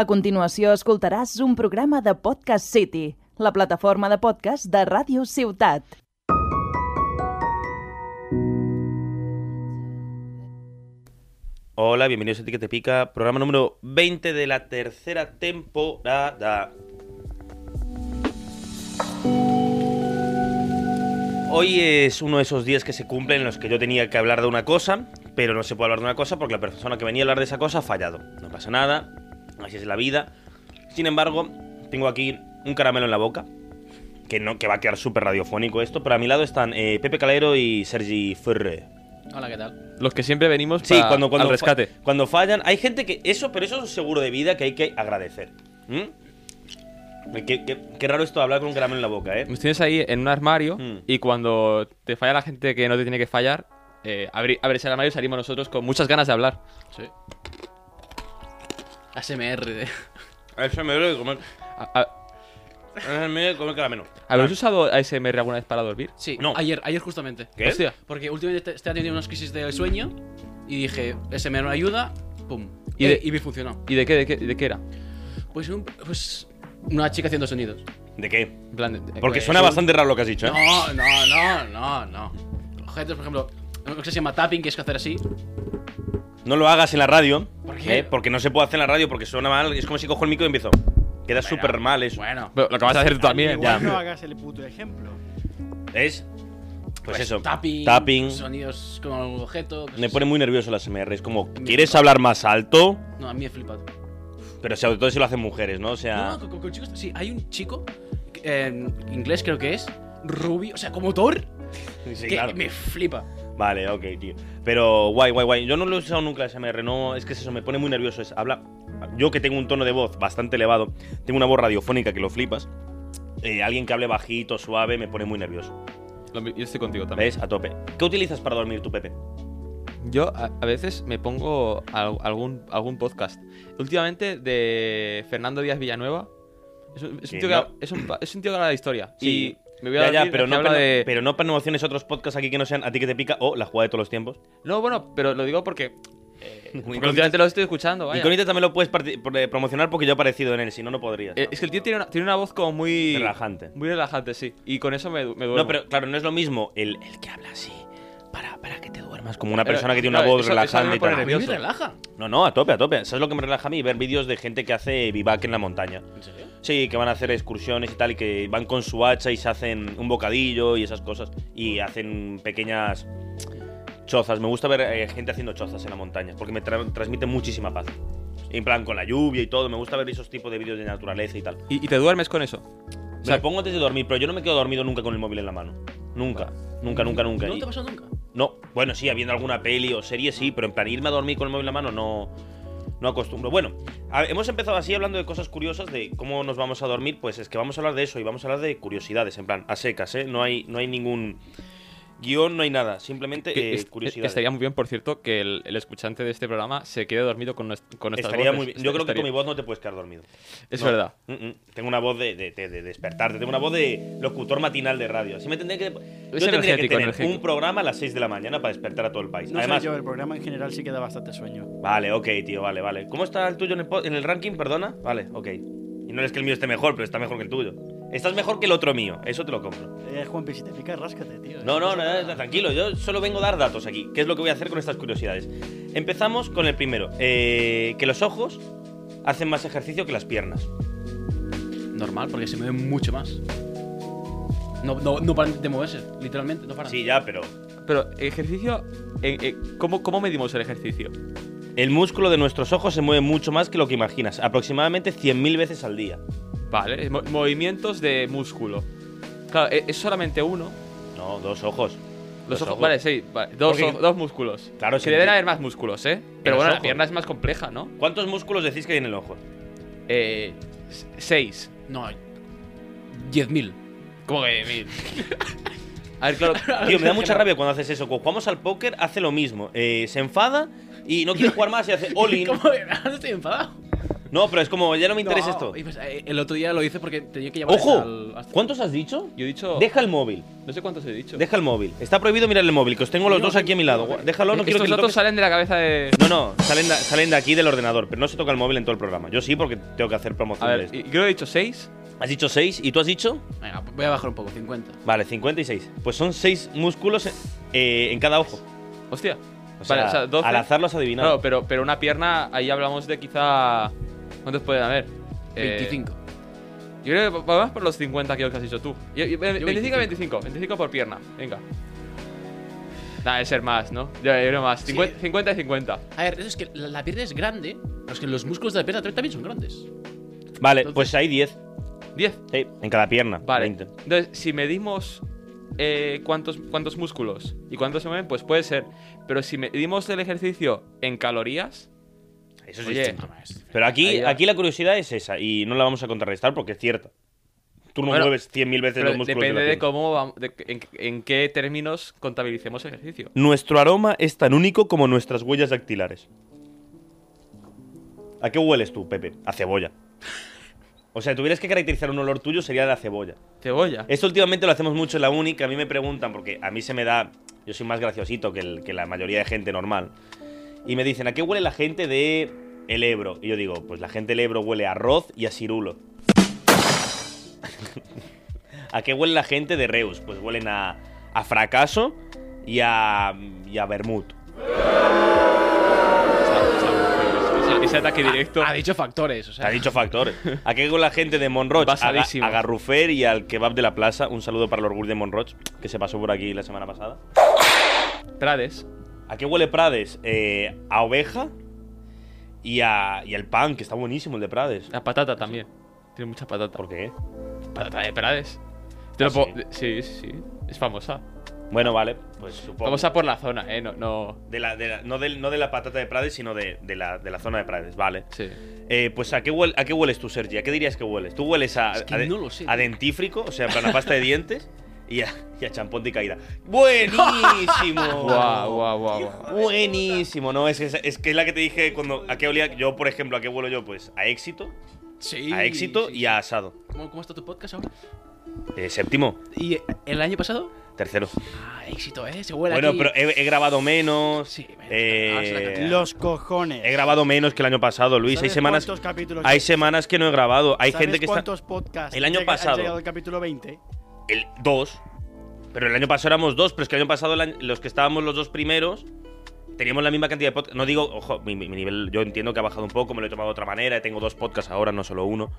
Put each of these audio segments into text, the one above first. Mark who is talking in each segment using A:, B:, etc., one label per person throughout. A: A continuació escoltaràs un programa de Podcast City, la plataforma de podcast de Ràdio Ciutat.
B: Hola, bienvenidos a Ti que te pica, programa número 20 de la tercera temporada. Hoy es uno de esos días que se cumplen en los que yo tenía que hablar de una cosa, pero no se puede hablar de una cosa porque la persona que venía a hablar de esa cosa ha fallado. No pasa nada, así es la vida. Sin embargo, tengo aquí un caramelo en la boca, que no, que va a quedar súper radiofónico esto, pero a mi lado están eh, Pepe Calero y Sergi Ferre.
C: Hola, ¿qué tal? Los que siempre venimos
B: Sí,
C: pa-
B: cuando, cuando,
C: al rescate.
B: fa- cuando fallan. Hay gente que. Eso, pero eso es un seguro de vida que hay que agradecer. ¿Mm? Qué, qué- qué raro esto de hablar con un caramelo en la boca, ¿eh?
C: Nos tienes ahí en un armario
B: Mm.
C: y cuando te falla la gente que no te tiene que fallar, eh, abri- abres el armario y salimos nosotros con muchas ganas de hablar.
D: Sí. ASMR. de-
B: Eso me duele de comer.
C: A- a-
B: Eso me duele de comer caramelo.
C: ¿Habéis usado ASMR alguna vez para dormir?
D: Sí,
B: No.
D: ayer, ayer justamente.
B: ¿Qué? Pues
C: Hostia.
D: Porque últimamente este, te- estaba teniendo unas crisis de sueño y dije, ASMR me ayuda, pum.
C: Y
D: Y,
C: de-
D: y me funcionó.
C: ¿Y de qué, de qué, de qué era?
D: Pues, un- pues una chica haciendo sonidos.
B: ¿De qué?
C: En plan, de- de-
B: Porque
D: Pues
B: suena
D: un-
B: bastante raro lo que has dicho, ¿eh?
D: No, no, no, no, no. Objetos, por ejemplo, una cosa que se llama tapping, que es que hacer así.
B: No lo hagas en la radio.
D: ¿Por qué?
B: ¿eh? Porque no se puede hacer en la radio porque suena mal. Es como si cojo el micro y empiezo. Queda súper mal eso.
D: Bueno,
C: Pero lo que vas a hacer tú también.
E: Igual
B: ya.
E: no hagas el puto ejemplo.
B: ¿Ves? Pues, eso.
D: tapping,
B: Tapping.
D: sonidos con algún objeto. pues cosas
B: Me pone muy nervioso la SMR. Es como,
D: Me
B: ¿quieres
D: flipa.
B: hablar más alto?
D: así. No, a mí me he flipado.
B: Pero sobre todo si lo hacen mujeres, ¿no? O sea.
D: No, no, con, con- con chicos. Sí, hay un chico, eh, inglés creo que es, rubio, o sea, como Thor,
B: sí,
D: que
B: claro.
D: me flipa.
B: Vale, ok, tío. Pero guay, guay, guay. Yo no lo he usado nunca SMR, no, es que es eso me pone muy nervioso. Es, habla, yo que tengo un tono de voz bastante elevado, tengo una voz radiofónica que lo flipas. eh, alguien que hable bajito, suave, me pone muy nervioso.
C: Lo mi- Yo estoy contigo también.
B: ¿Ves? A tope. ¿Qué utilizas para dormir tú, Pepe?
C: Yo a, a veces me pongo al- algún, algún podcast. Últimamente de Fernando Díaz Villanueva. Es un, es
B: Que
C: un tío, que,
B: no.
C: ha- es, un, pa- es un tío que habla de historia.
B: Sí.
C: Y me voy a dormir,
B: pero
C: que
B: no,
C: habla
B: promo-
C: de...
B: pero no promociones otros podcasts aquí que no sean a ti que te pica o la jugada de todos los tiempos.
C: No, bueno, pero lo digo porque... eh, porque
B: Incógnitas.
C: últimamente lo estoy escuchando,
B: Y
C: vaya.
B: con también lo puedes parti- pro- eh, promocionar porque yo he aparecido en él, si no, no podrías.
C: Eh, es que el tío tiene una, tiene una voz como muy...
B: Relajante.
C: Muy relajante, sí. Y con eso me, du- me duermo.
B: No, pero claro, no es lo mismo el, el que habla así para, para que te duermas como una
C: Pero,
B: persona que tiene una
C: claro,
B: voz
C: eso- eso a mí me
B: relajante y
C: pone
B: tal.
D: A mí me
C: Nervioso.
D: relaja.
B: No, no, a tope, a tope. ¿Sabes lo que me relaja a mí? Ver vídeos de gente que hace vivac en la montaña.
D: ¿En serio?
B: Sí, que van a hacer excursiones y tal, y que van con su hacha y se hacen un bocadillo y esas cosas. Y hacen pequeñas chozas. Me gusta ver eh, gente haciendo chozas en la montaña, porque me tra- transmite muchísima paz. En plan, con la lluvia y todo, me gusta ver esos tipos de vídeos de naturaleza y tal. Me
C: Y, y te duermes con eso.
B: lo
C: O sea,
B: pongo antes de dormir, pero yo no me quedo dormido nunca con el móvil en la mano. Nunca, nunca, nunca, nunca.
D: ¿No
B: Y-
D: te ha pasado nunca?
B: no, bueno, sí, habiendo alguna peli o serie, sí, pero en plan irme a dormir con el móvil en la mano no, no acostumbro. Bueno, a- hemos empezado así hablando de cosas curiosas, de cómo nos vamos a dormir, pues es que vamos a hablar de eso y vamos a hablar de curiosidades, en plan, a secas, ¿eh? No hay, no hay ningún guión, no hay nada, simplemente
C: que
B: eh,
C: est-
B: curiosidades.
C: Estaría muy bien, por cierto, que el, el escuchante de este programa se quede dormido con, nues- con nuestras
B: Estaría
C: voces.
B: muy bien.
C: Est-
B: Yo creo que
C: estaría-
B: con mi voz no te puedes quedar dormido.
C: Es
B: No.
C: verdad.
B: Mm, mm. Tengo una voz de, de- de- de despertarte, tengo una voz de locutor matinal de radio. Así me tendría que. Yo tendría que
C: energético,
B: tener
C: energético.
B: un programa a las 6 de la mañana para despertar a todo el país.
E: No
B: Además,
E: sé yo, el programa en general sí que da bastante sueño.
B: Vale, ok, tío, vale, vale. ¿Cómo está el tuyo en el, po- en el ranking, perdona? Vale, ok. Y no es que el mío esté mejor, pero está mejor que el tuyo. Estás mejor que el otro mío, eso te lo compro.
E: Eh, Juanpi, si te pica, ráscate, tío.
B: No, no, no, no, no, tranquilo, yo solo vengo a dar datos aquí, que es lo que voy a hacer con estas curiosidades. Empezamos con el primero, eh, que los ojos hacen más ejercicio que las piernas.
D: Normal, porque se mueven mucho más. No, no, no paran de moverse, literalmente, no paran.
B: Sí, ya, pero...
C: Pero ejercicio, eh, eh, ¿cómo, ¿cómo medimos el ejercicio?
B: El músculo de nuestros ojos se mueve mucho más que lo que imaginas, aproximadamente 100.000 veces al día.
C: Vale, mo- movimientos de músculo. Claro, eh, es solamente uno.
B: No, dos ojos.
C: Los ojos, vale, sí, vale, dos,
B: Porque-
C: ojos- dos músculos.
B: Claro,
C: que
B: sí,
C: deben
B: sí.
C: haber más músculos, ¿eh?
B: los
C: Pero bueno, la
B: ojos.
C: pierna es más compleja, ¿no?
B: ¿Cuántos músculos decís que hay en el ojo?
C: Eh, s- seis.
D: No, 10.000.
C: ¿Cómo que mil? A ver, claro.
B: Tío, me da mucha rabia cuando haces eso. Cuando jugamos al póker, hace lo mismo. Eh, se enfada y no quiere jugar más y hace all in.
D: ¿Cómo? Ahora estoy enfadado.
B: No, pero es como, ya no me interesa
D: No,
B: esto.
D: y pues, eh, el otro día lo hice porque tenía que llevar
B: ¡Ojo!
D: al- hasta-
B: ¿Cuántos has dicho?
C: Yo he dicho.
B: Deja el móvil.
C: No sé cuántos he dicho.
B: Deja el móvil. Está prohibido mirar el móvil, que os tengo los dos aquí a mi lado. Gua- Déjalo, no quiero que
C: Estos
B: lo
C: datos
B: toques.
C: salen de la cabeza de.
B: No, no, salen de, salen de aquí del ordenador, pero no se toca el móvil en todo el programa. Yo sí, porque tengo que hacer
C: A
B: promoción de
C: ver,
B: esto.
C: y- creo que he dicho 6.
B: Has dicho 6 y tú has dicho.
D: Venga, voy a bajar un poco, 50.
B: Vale, 56. Pues son 6 músculos eh, en cada ojo.
C: Hostia.
B: O sea,
C: vale, o sea, 12.
B: al azar los has
C: Claro,
B: adivinado.
C: pero, pero una pierna, ahí hablamos de quizá. ¿Cuántos pueden haber? Eh,
D: 25.
C: Yo creo que va- vamos por los 50 kilos que has dicho tú. Yo- yo- 25,
D: 25.
C: 25. 25 por pierna. Venga. Nah, debe ser más, ¿no? Yo, yo creo más. 50, 50 y 50.
D: A ver, eso es que la, la pierna es grande, pero es que los músculos de la pierna también son grandes.
B: vale,
D: entonces-
B: pues hay 10.
C: 10.
B: Sí, en cada pierna.
C: Vale.
B: 20.
C: Entonces, si medimos eh, cuántos, cuántos músculos y cuántos se mueven, pues puede ser. Pero si medimos el ejercicio en calorías,
B: Eso es
C: Oye,
B: distinto.
D: Ah, es-
B: Pero
C: ahí
B: aquí,
C: va.
B: aquí la curiosidad es esa y no la vamos a contrarrestar porque es cierta. Tú no
C: Bueno,
B: mueves 100.000 veces
C: pero
B: los músculos.
C: depende
B: la
C: de,
B: pierna.
C: cómo vam- de- en, en qué términos contabilicemos el ejercicio.
B: Nuestro aroma es tan único como nuestras huellas dactilares. ¿A qué hueles tú, Pepe? A cebolla. O sea, tuvieras que caracterizar un olor tuyo sería la cebolla.
C: Cebolla.
B: Esto últimamente lo hacemos mucho en la uni, que a mí me preguntan, porque a mí se me da. Yo soy más graciosito que, el- que la mayoría de gente normal. Y me dicen, ¿a qué huele la gente de el Ebro? Y yo digo, pues la gente del Ebro huele a arroz y a cirulo. ¿A qué huele la gente de Reus? Pues huelen a, a fracaso y a, y a vermut.
C: Ese,
B: Ah,
C: ese ataque directo.
D: Ha dicho factores, o sea.
B: Ha dicho factores. ¿A qué huele la gente de Monroch? A,
C: Basadísimo.
B: a Garrufer y al kebab de la plaza. Un saludo para el orgullo de Monroch, que se pasó por aquí la semana pasada.
C: Trades.
B: ¿A qué huele Prades? Eh, a oveja y, a, y al pan, que está buenísimo el de Prades.
C: La patata también. Tiene mucha patata.
B: ¿Por qué?
C: Patata de Prades. Te
B: ¿Ah,
C: lo puedo-
B: sí?
C: sí, sí, sí. Es famosa.
B: Bueno, vale, pues supongo.
C: Famosa por la zona, eh. No, no.
B: De la, de la- no, del- no de la patata de Prades, sino de, de la, de la zona de Prades, vale.
C: Sí.
B: Eh, pues ¿a qué, huel- ¿a qué hueles tú, Sergi? ¿A qué dirías que hueles? ¿Tú hueles a,
D: Es que
B: a de-
D: no lo sé,
B: a
D: tío.
B: dentífrico, o sea, en plan a pasta de dientes y a, y a champón de caída? ¡Buenísimo!
C: Guau, guau, guau, guau.
B: Buenísimo, ¿no? Es, que- es que es la que te dije cuando... ¿A qué olía? Yo, por ejemplo, ¿a qué huelo yo? Pues a éxito,
D: Sí,
B: a éxito
D: sí,
B: y a asado.
D: sí. ¿Cómo, cómo está tu podcast ahora?
B: Eh, séptimo,
D: ¿Y eh, el año pasado?
B: tercero.
D: Ah, éxito, ¿eh? Se huele
B: Bueno,
D: aquí.
B: pero he, he grabado menos.
D: Sí, bueno,
B: eh,
D: ahora se la cantidad.
E: Los cojones.
B: He grabado menos que el año pasado, Luis. Hay
E: ¿Sabes
B: semanas,
E: ¿Cuántos capítulos?
B: hay semanas que no he grabado. Hay
E: ¿Sabes
B: gente que está.
E: ¿Cuántos podcasts?
B: El año
E: llega- han
B: pasado.
E: llegado al capítulo 20.
B: El, dos. Pero el año pasado éramos dos, pero es que el año pasado el año- los que estábamos los dos primeros teníamos la misma cantidad de podcasts. No digo, ojo, mi, mi nivel yo entiendo que ha bajado un poco, me lo he tomado de otra manera. Tengo dos podcasts ahora, no solo uno.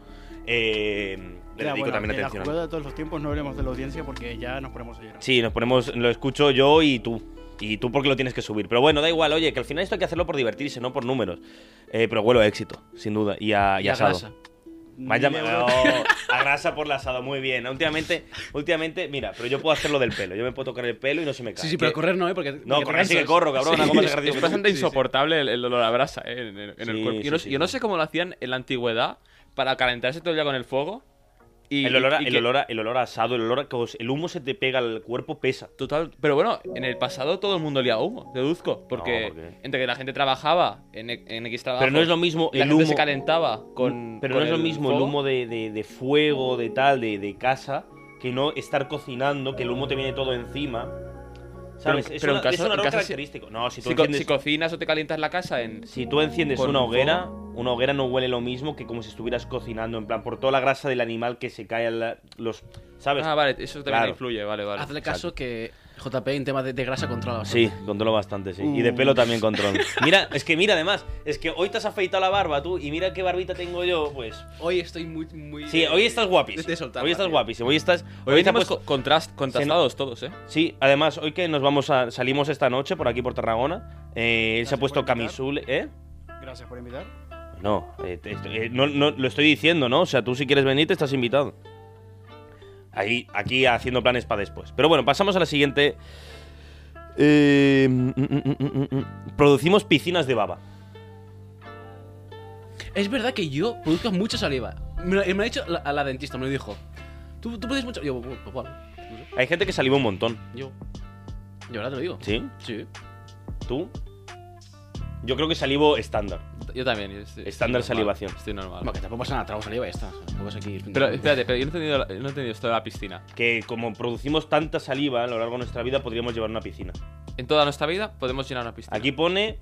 B: Eh, le
E: Ya,
B: dedico
E: bueno,
B: también
E: de la
B: atención.
E: jugada de todos los tiempos no hablemos de la audiencia porque ya nos ponemos a llorar.
B: Sí, nos ponemos, lo escucho yo y tú. Y tú porque lo tienes que subir. Pero bueno, da igual, oye, que al final esto hay que hacerlo por divertirse, no por números. Eh, pero huelo a éxito, sin duda. Y a, y
D: Y a
B: asado.
D: grasa.
B: Me has
E: Ni de
B: llamado-
E: broma.
B: a grasa por el asado, muy bien. Últimamente, últimamente, mira, pero yo puedo hacerlo del pelo. Yo me puedo tocar el pelo y no se me cae.
D: Sí, sí, pero
B: Que-
D: correr no, ¿eh? Porque,
B: No,
D: porque
B: correr sí que
D: cansas.
B: corro, cabrón. ¿Cómo has
C: Es,
B: ejercido
C: es
B: que tú?
C: bastante insoportable el, el olor a brasa eh, en, el- en el
B: Sí,
C: cuerpo. Yo no,
B: sí, sí,
C: yo no
B: sí.
C: sé cómo lo hacían en la antigüedad para calentarse todo el día con el fuego. Y,
B: El olor, a,
C: y- y
B: el,
C: que-
B: olor a- el olor a asado, el olor a que os- el humo se te pega al cuerpo, pesa.
C: Total, pero bueno, en el pasado todo el mundo olía a humo, deduzco, porque
B: No, porque-
C: entre que la gente trabajaba en, e- en X trabajo,
B: Pero no es lo mismo
C: la
B: el
C: gente
B: humo. Mm,
C: se calentaba con
B: pero
C: con
B: no es lo mismo el
C: fuego.
B: humo de, de- de fuego, de tal, de, de casa, que no estar cocinando, que el humo te viene todo encima. ¿Sabes?
C: Pero en-
B: es,
C: pero
B: una-
C: en casa-
B: es un olor
C: en casa sí-
B: característico. No, si tú
C: Si, co-
B: enciendes,
C: si cocinas o te calientas la casa en
B: si tú enciendes
C: con
B: una
C: un
B: hoguera, una hoguera no huele lo mismo que como si estuvieras cocinando, en plan, por toda la grasa del animal que se cae a la- los. ¿Sabes?
C: Ah, vale, eso también
B: Claro.
C: influye, vale, vale.
D: Hazle caso que JP en tema de, de grasa controla bastante.
B: Sí, controlo bastante, sí. Y de pelo también controlo. Mira, es que mira, además, es que hoy te has afeitado la barba tú y mira qué barbita tengo yo, pues.
D: Hoy estoy muy. muy
B: Sí,
D: de-
B: hoy estás guapísimo.
D: de- de soltarla,
B: Hoy estás
D: tío.
B: guapísimo. Hoy estás.
C: Hoy
B: te has
C: venimos
B: puesto-
C: co- contrast, contrastados todos, ¿eh?
B: Sí, además, hoy que nos vamos a. Salimos esta noche por aquí por Tarragona. eh, él se ha
E: Gracias
B: puesto
E: por invitar.
B: camisul, ¿eh?
E: Gracias por invitar.
B: No, eh, te- te- eh, no, no, lo estoy diciendo, ¿no? O sea, tú si quieres venir, te estás invitado. Ahí, aquí haciendo planes para después. Pero bueno, pasamos a la siguiente. Eh, mm, mm, mm, mm, mm, mm. producimos piscinas de baba.
D: Es verdad que yo produzco mucha saliva. Me lo, me lo ha dicho la, a la dentista, me lo dijo. Tú, tú produces mucho. Yo, pues ¿cuál?
B: Hay gente que saliva un montón.
D: Yo. Yo ahora te lo digo.
B: ¿Sí?
D: Sí.
B: ¿Tú? Yo creo que salivo estándar.
C: yo también. yo estoy-
B: Estándar
C: estoy normal,
B: salivación.
C: Estoy normal.
D: Bueno, que tampoco pasa nada, trago saliva y ya está. Tampoco es aquí.
C: Pero espérate, pero yo no he entendido, no he entendido esto de la piscina.
B: Que como producimos tanta saliva a lo largo de nuestra vida, podríamos llevar una piscina.
C: En toda nuestra vida podemos llenar una piscina.
B: Aquí Mm. pone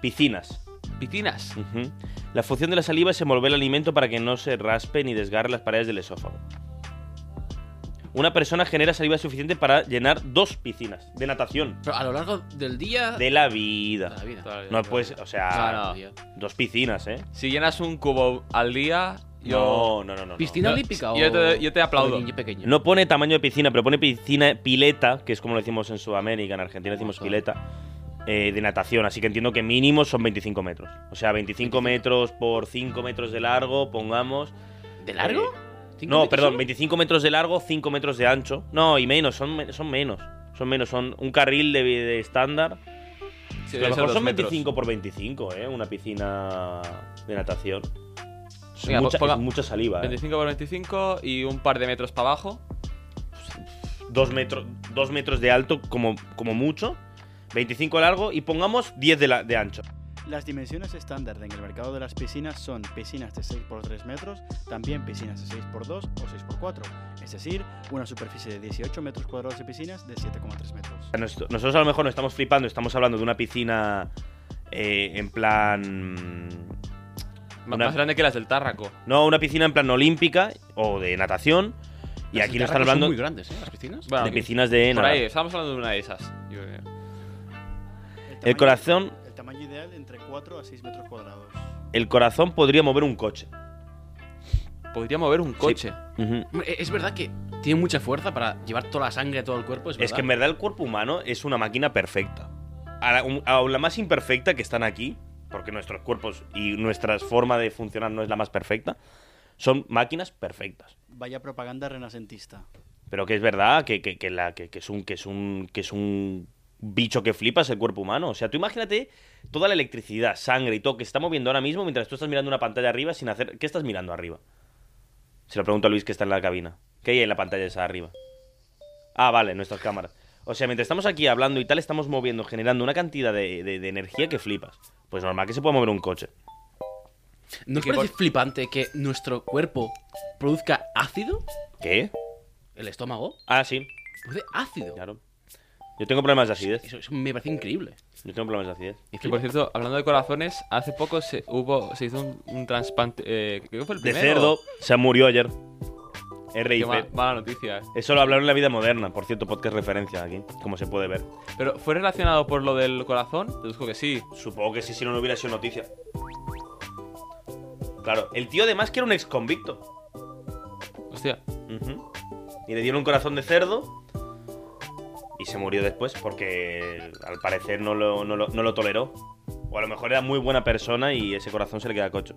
B: piscinas.
C: Piscinas.
B: Ujú. La función de la saliva es envolver el alimento para que no se raspe ni desgarre las paredes del esófago. Una persona genera saliva suficiente para llenar dos piscinas de natación
D: Pero a lo largo del día.
B: de la
D: toda la
B: vida.
D: vida.
C: Toda la vida.
B: No pues, o
C: No,
B: sea,
C: no.
D: Todo el día.
B: dos piscinas, ¿eh?
C: Si llenas un cubo al día, yo.
B: No, no, no, no, no.
D: ¿Piscina
C: No,
D: olímpica o.?
C: yo te- yo te aplaudo.
D: o niño pequeño?
B: No pone tamaño de piscina, pero pone piscina pileta, que es como lo decimos en Sudamérica, en Argentina decimos pileta, eh, de natación. Así que entiendo que mínimo son 25 metros. O sea, 25 metros por 5 metros de largo, pongamos.
D: ¿De largo?
B: Eh,
D: ¿Cinco
B: No,
D: metros
B: perdón,
D: solo?
B: 25 metros de largo, 5 metros de ancho. No, y menos, son, me- son menos. Son menos, son un carril de, de estándar. Pues
C: Sí,
B: a
C: debe
B: lo
C: ser
B: mejor
C: dos
B: son
C: metros.
B: 25 por 25, ¿eh? Una piscina de natación. Es
C: Venga,
B: mucha,
C: pues ponga-
B: es mucha saliva, ¿eh?
C: 25 por 25 y un par de metros para abajo.
B: dos, metros dos metros de alto como, como mucho, 25 de largo y pongamos 10 de, la- de ancho.
E: Las dimensiones estándar en el mercado de las piscinas son piscinas de 6 por 3 metros, también piscinas de 6 por 2 o 6 por 4, es decir, una superficie de 18 metros cuadrados de piscinas de 7,3 metros.
B: O sea, nos- Nosotros a lo mejor no estamos flipando, estamos hablando de una piscina eh, en plan...
C: M-
B: Una-
C: Más grande que las del Tárraco.
B: No, una piscina en plan olímtica o de natación. Y
D: Las
B: aquí nos están
D: guitarras son
B: hablando
D: muy grandes, ¿eh? Las piscinas.
C: Bueno,
B: de
C: aquí-
B: piscinas de...
C: Por
B: nada.
C: ahí, estábamos hablando de una de esas. eh, Yo creo.
E: tamaño-
B: corazón-
E: El tamaño ideal entre 4 a 6 metros cuadrados.
B: El corazón podría mover un coche.
C: Podría mover un coche.
B: Ujú.
D: Hombre, Es verdad que tiene mucha fuerza para llevar toda la sangre a todo el cuerpo. Es,
B: Es que en
D: verdad.
B: verdad el cuerpo humano es una máquina perfecta. A la, un- a la más imperfecta que están aquí, porque nuestros cuerpos y nuestra forma de funcionar no es la más perfecta, son máquinas perfectas.
E: Vaya propaganda renacentista.
B: Pero que es verdad que, que- que la, que, que es un, que, es un, que es un bicho que flipas el cuerpo humano. O sea, tú imagínate toda la electricidad, sangre y todo que se está moviendo ahora mismo mientras tú estás mirando una pantalla arriba sin hacer... ¿Qué estás mirando arriba? Se lo pregunto a Luis que está en la cabina. ¿Qué hay en la pantalla esa arriba? Ah, vale, nuestras cámaras. O sea, mientras estamos aquí hablando y tal, estamos moviendo, generando una cantidad de, de- de energía que flipas. Pues normal que se pueda mover un coche.
D: ¿No os
C: que
D: parece flipante que nuestro cuerpo produzca ácido?
B: ¿Qué?
D: ¿El estómago?
B: Ah, sí,
D: Produce ácido.
B: claro. Yo tengo problemas de acidez.
D: Eso, eso me parece increíble.
B: Yo tengo problemas de acidez.
D: Me
C: Que por
D: flipa.
C: cierto, hablando de corazones, hace poco se hubo se hizo un, un trasplante. eh, creo que fue el
B: De
C: primero.
B: cerdo, se murió ayer.
C: Qué
B: RIP.
C: ma- mala noticia. eh.
B: Eso lo hablaron en la vida moderna, por cierto, podcast referencia aquí, como se puede ver.
C: Pero ¿fue relacionado por lo del corazón? Deduzco que sí.
B: Supongo que sí, si no, no hubiera sido noticia. Claro, el tío además que era un ex convicto.
C: Hostia.
B: Y le dieron un corazón de cerdo. Y se murió después porque al parecer no lo, no lo- no lo toleró. O a lo mejor era muy buena persona y ese corazón se le queda cocho.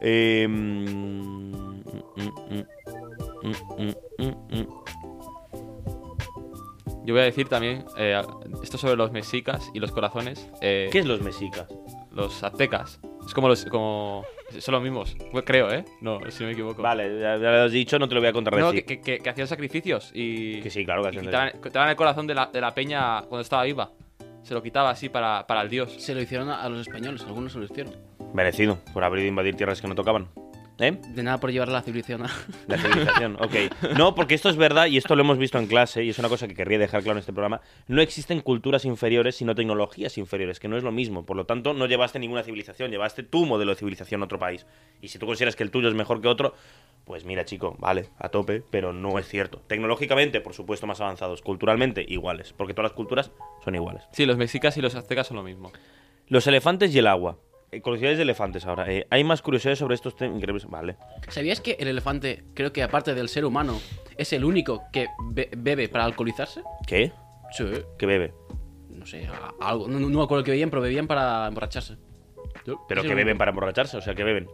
B: Eh, mm, mm, mm, mm, mm, mm.
C: Yo voy a decir también eh, esto sobre los mexicas y los corazones. eh,
B: ¿Qué es los mexicas?
C: Los aztecas. Es como los. Como, son los mismos. Bueno, Creo, ¿eh? No, si no me equivoco.
B: Vale, ya, ya lo has dicho, no te lo voy a contradecir.
C: No, que, que- que- que hacían sacrificios y.
B: Que sí, claro que
C: y
B: hacían
C: quitaban, quitaban el corazón de la, de la peña cuando estaba viva. Se lo quitaba así para, para el dios.
D: Se lo hicieron a a los españoles, algunos se lo hicieron.
B: Merecido, por haber ido a invadir tierras que no tocaban. ¿Eh?
D: De nada por llevar la civilización a...
B: La civilización, ok. No, porque esto es verdad y esto lo hemos visto en clase y es una cosa que querría dejar claro en este programa. No existen culturas inferiores, sino tecnologías inferiores, que no es lo mismo. Por lo tanto, no llevaste ninguna civilización, llevaste tu modelo de civilización a otro país. Y si tú consideras que el tuyo es mejor que otro, pues mira, chico, vale, a tope, pero no es cierto. Tecnológicamente, por supuesto, más avanzados. Culturalmente, iguales, porque todas las culturas son iguales.
C: Sí, los mexicas y los aztecas son lo mismo.
B: Los elefantes y el agua. Eh, curiosidades de elefantes ahora. Eh, hay más curiosidades sobre estos temas increíbles. Vale.
D: ¿Sabías que el elefante, creo que aparte del ser humano, es el único que be- bebe para alcoholizarse?
B: ¿Qué?
D: Sí.
B: ¿Qué bebe?
D: No sé, a- algo. No, no me acuerdo que bebían, pero bebían para emborracharse.
B: Pero que beben para emborracharse, o sea, que beben.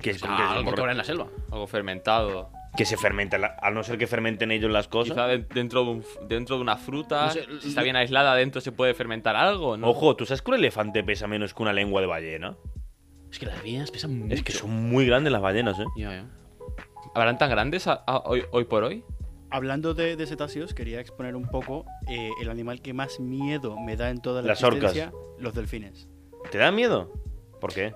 B: Que, es-
D: Ah,
B: que es
D: algo que
B: emborra-
D: habrá en la selva.
C: Algo fermentado.
B: que se fermenta, la- a no ser que fermenten ellos las cosas.
C: Quizá de- dentro de, un f- dentro de una fruta,
D: No sé,
C: si está
D: lo-
C: bien aislada, dentro se puede fermentar algo, ¿no?
B: Ojo, ¿tú sabes que un elefante pesa menos que una lengua de ballena?
D: Es que las ballenas pesan mucho.
B: Es que son muy grandes las ballenas, ¿eh?
D: Ya, ya.
C: ¿Habrán tan grandes a- a- hoy, hoy por hoy?
E: Hablando de, de cetáceos, quería exponer un poco eh, el animal que más miedo me da en toda la
B: Las orcas.
E: existencia, los delfines.
B: ¿Te da miedo? ¿Por qué?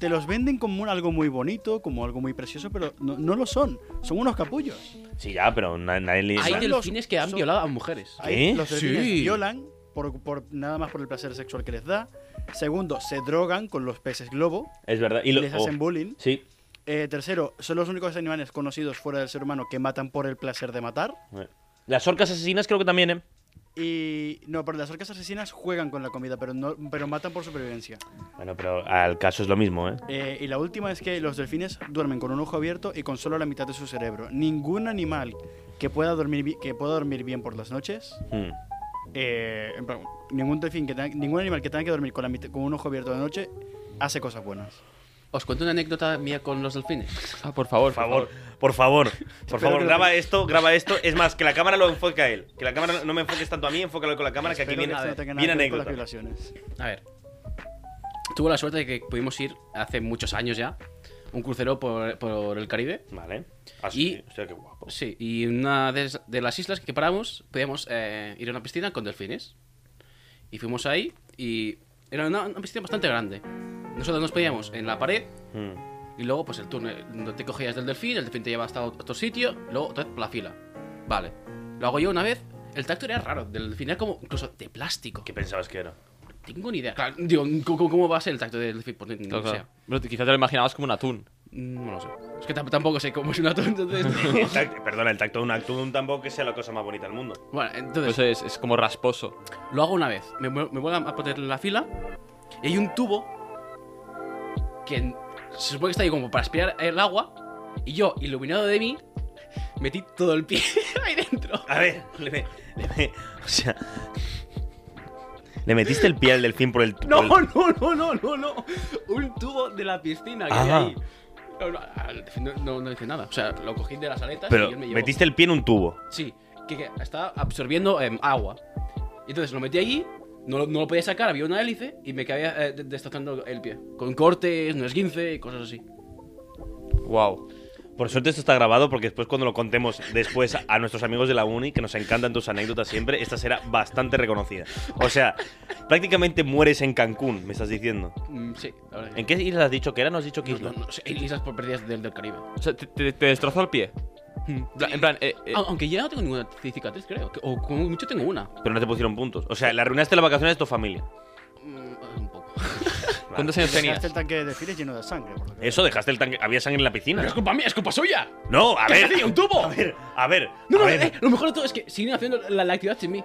E: Te los venden como un- algo muy bonito, como algo muy precioso, pero no, no lo son. Son unos capullos.
B: Sí, ya, pero na- nadie le
D: Hay
E: Son los-
D: delfines que han
E: son-
D: violado a mujeres.
E: Ahí
B: ¿Qué?
E: los delfines
D: Sí.
E: violan por, por- nada más por el placer sexual que les da. Segundo, se drogan con los peces globo,
B: Es verdad. Y lo-
E: les
B: oh,
E: hacen bullying.
B: Sí.
E: Eh, tercero, son los únicos animales conocidos fuera del ser humano que matan por el placer de matar.
B: Las orcas asesinas creo que también, ¿eh?
E: Y no, pero las orcas asesinas juegan con la comida, pero no, pero matan por supervivencia.
B: Bueno, pero al caso es lo mismo, ¿eh?
E: Eh, y la última es que los delfines duermen con un ojo abierto y con solo la mitad de su cerebro. Ningún animal que pueda dormir, bi- que pueda dormir bien por las noches,
B: Hmm.
E: eh, en plan, ningún delfín que tenga- ningún animal que tenga que dormir con, la mitad- con un ojo abierto de noche hace cosas buenas.
D: Os cuento una anécdota mía con los delfines.
C: Ah, por favor,
B: Por favor, por favor, por
E: que
B: favor,
E: lo
B: graba esto, graba esto. Es más, que la cámara lo enfoque a él. Que la cámara no me enfoques tanto a mí, enfócalo con la cámara, que aquí
E: Espero
B: viene,
E: esto no tenga nada
B: viene
E: que ver con las
B: anécdota.
E: violaciones.
D: A ver. Tuve la suerte de que pudimos ir hace muchos años ya. Un crucero por, por el Caribe.
B: Vale. Ah, Así,
D: Y-
B: hostia, qué guapo.
D: Sí, y en una de, es- de las islas que paramos, podíamos eh, ir a una piscina con delfines. Y fuimos ahí y era una, una piscina bastante grande. Nosotros nos poníamos en la pared
B: Hmm.
D: y luego pues el turno, no te cogías del delfín, el delfín te lleva hasta otro sitio, luego otra vez por la fila. Vale, lo hago yo una vez. El tacto era raro, del delfín era como incluso de plástico.
B: ¿Qué
D: Que
B: pensabas que era?
D: no tengo ni idea. Claro, digo, ¿cómo, cómo va a ser el tacto del delfín? Pues ni- ni lo sé.
C: Quizás te lo imaginabas como un atún.
D: No lo sé. Es que tam- tampoco sé cómo es una atún, entonces...
B: El tac- perdona, el tacto de un acto de un tampoco que sea la cosa más bonita del mundo.
D: bueno, entonces...
C: Eso Pues es, es como rasposo.
D: Lo hago una vez. Me, vuel- me vuelvo a poner en la fila. Y hay un tubo que en- se supone que está ahí como para aspirar el agua. Y yo, iluminado de mí, metí todo el pie ahí dentro.
B: A ver, le, me- le me- o sea, le metiste el pie al delfín por el por
D: No,
B: el-
D: no, no, no, no, no. Un tubo de la piscina que hay
B: Ah.
D: ahí. No, no, al fin no, no- no hice nada. O sea, lo cogí de las aletas y
B: Pero
D: él me llevó.
B: metiste el pie en un tubo.
D: Sí, que, que estaba absorbiendo em, agua. Y entonces lo metí allí, no, lo- no lo podía sacar, había una hélice y me quedaba eh, de- destrozando el pie. Con cortes, no esguince y cosas así.
C: Wow.
B: Por suerte esto está grabado porque después cuando lo contemos después a nuestros amigos de la uni, que nos encantan tus anécdotas siempre, esta será bastante reconocida. O sea, prácticamente mueres en Cancún, me estás diciendo.
D: Mm, sí, la verdad.
B: ¿En qué isla has dicho que era? ¿No has dicho qué
D: No,
B: isla?
D: no, no, sí, hay islas por pérdidas del, del Caribe.
C: O sea, te, te- te destrozó el pie. En plan- En plan, eh, eh,
D: Hmm. Ah, Aunque ya no tengo ninguna cicatriz, creo. que- O como mucho tengo una.
B: Pero no te pusieron puntos. O sea, le arruinaste las vacaciones de tu familia.
D: Mm, un poco.
C: ¿cuántos años tenías?
E: Dejaste el Este tanque de delfines lleno de sangre. por lo que veo.
B: Eso, dejaste el tanque. Había sangre en la
D: Pero es
B: piscina.
D: culpa mía, es culpa suya.
B: No, a
D: ¡Que se
B: ver.
D: hacía un tubo!
B: A ver, a ver.
D: No,
B: a
D: no,
B: ver.
D: eh, lo mejor de todo es que siguen haciendo la, la actividad sin mí.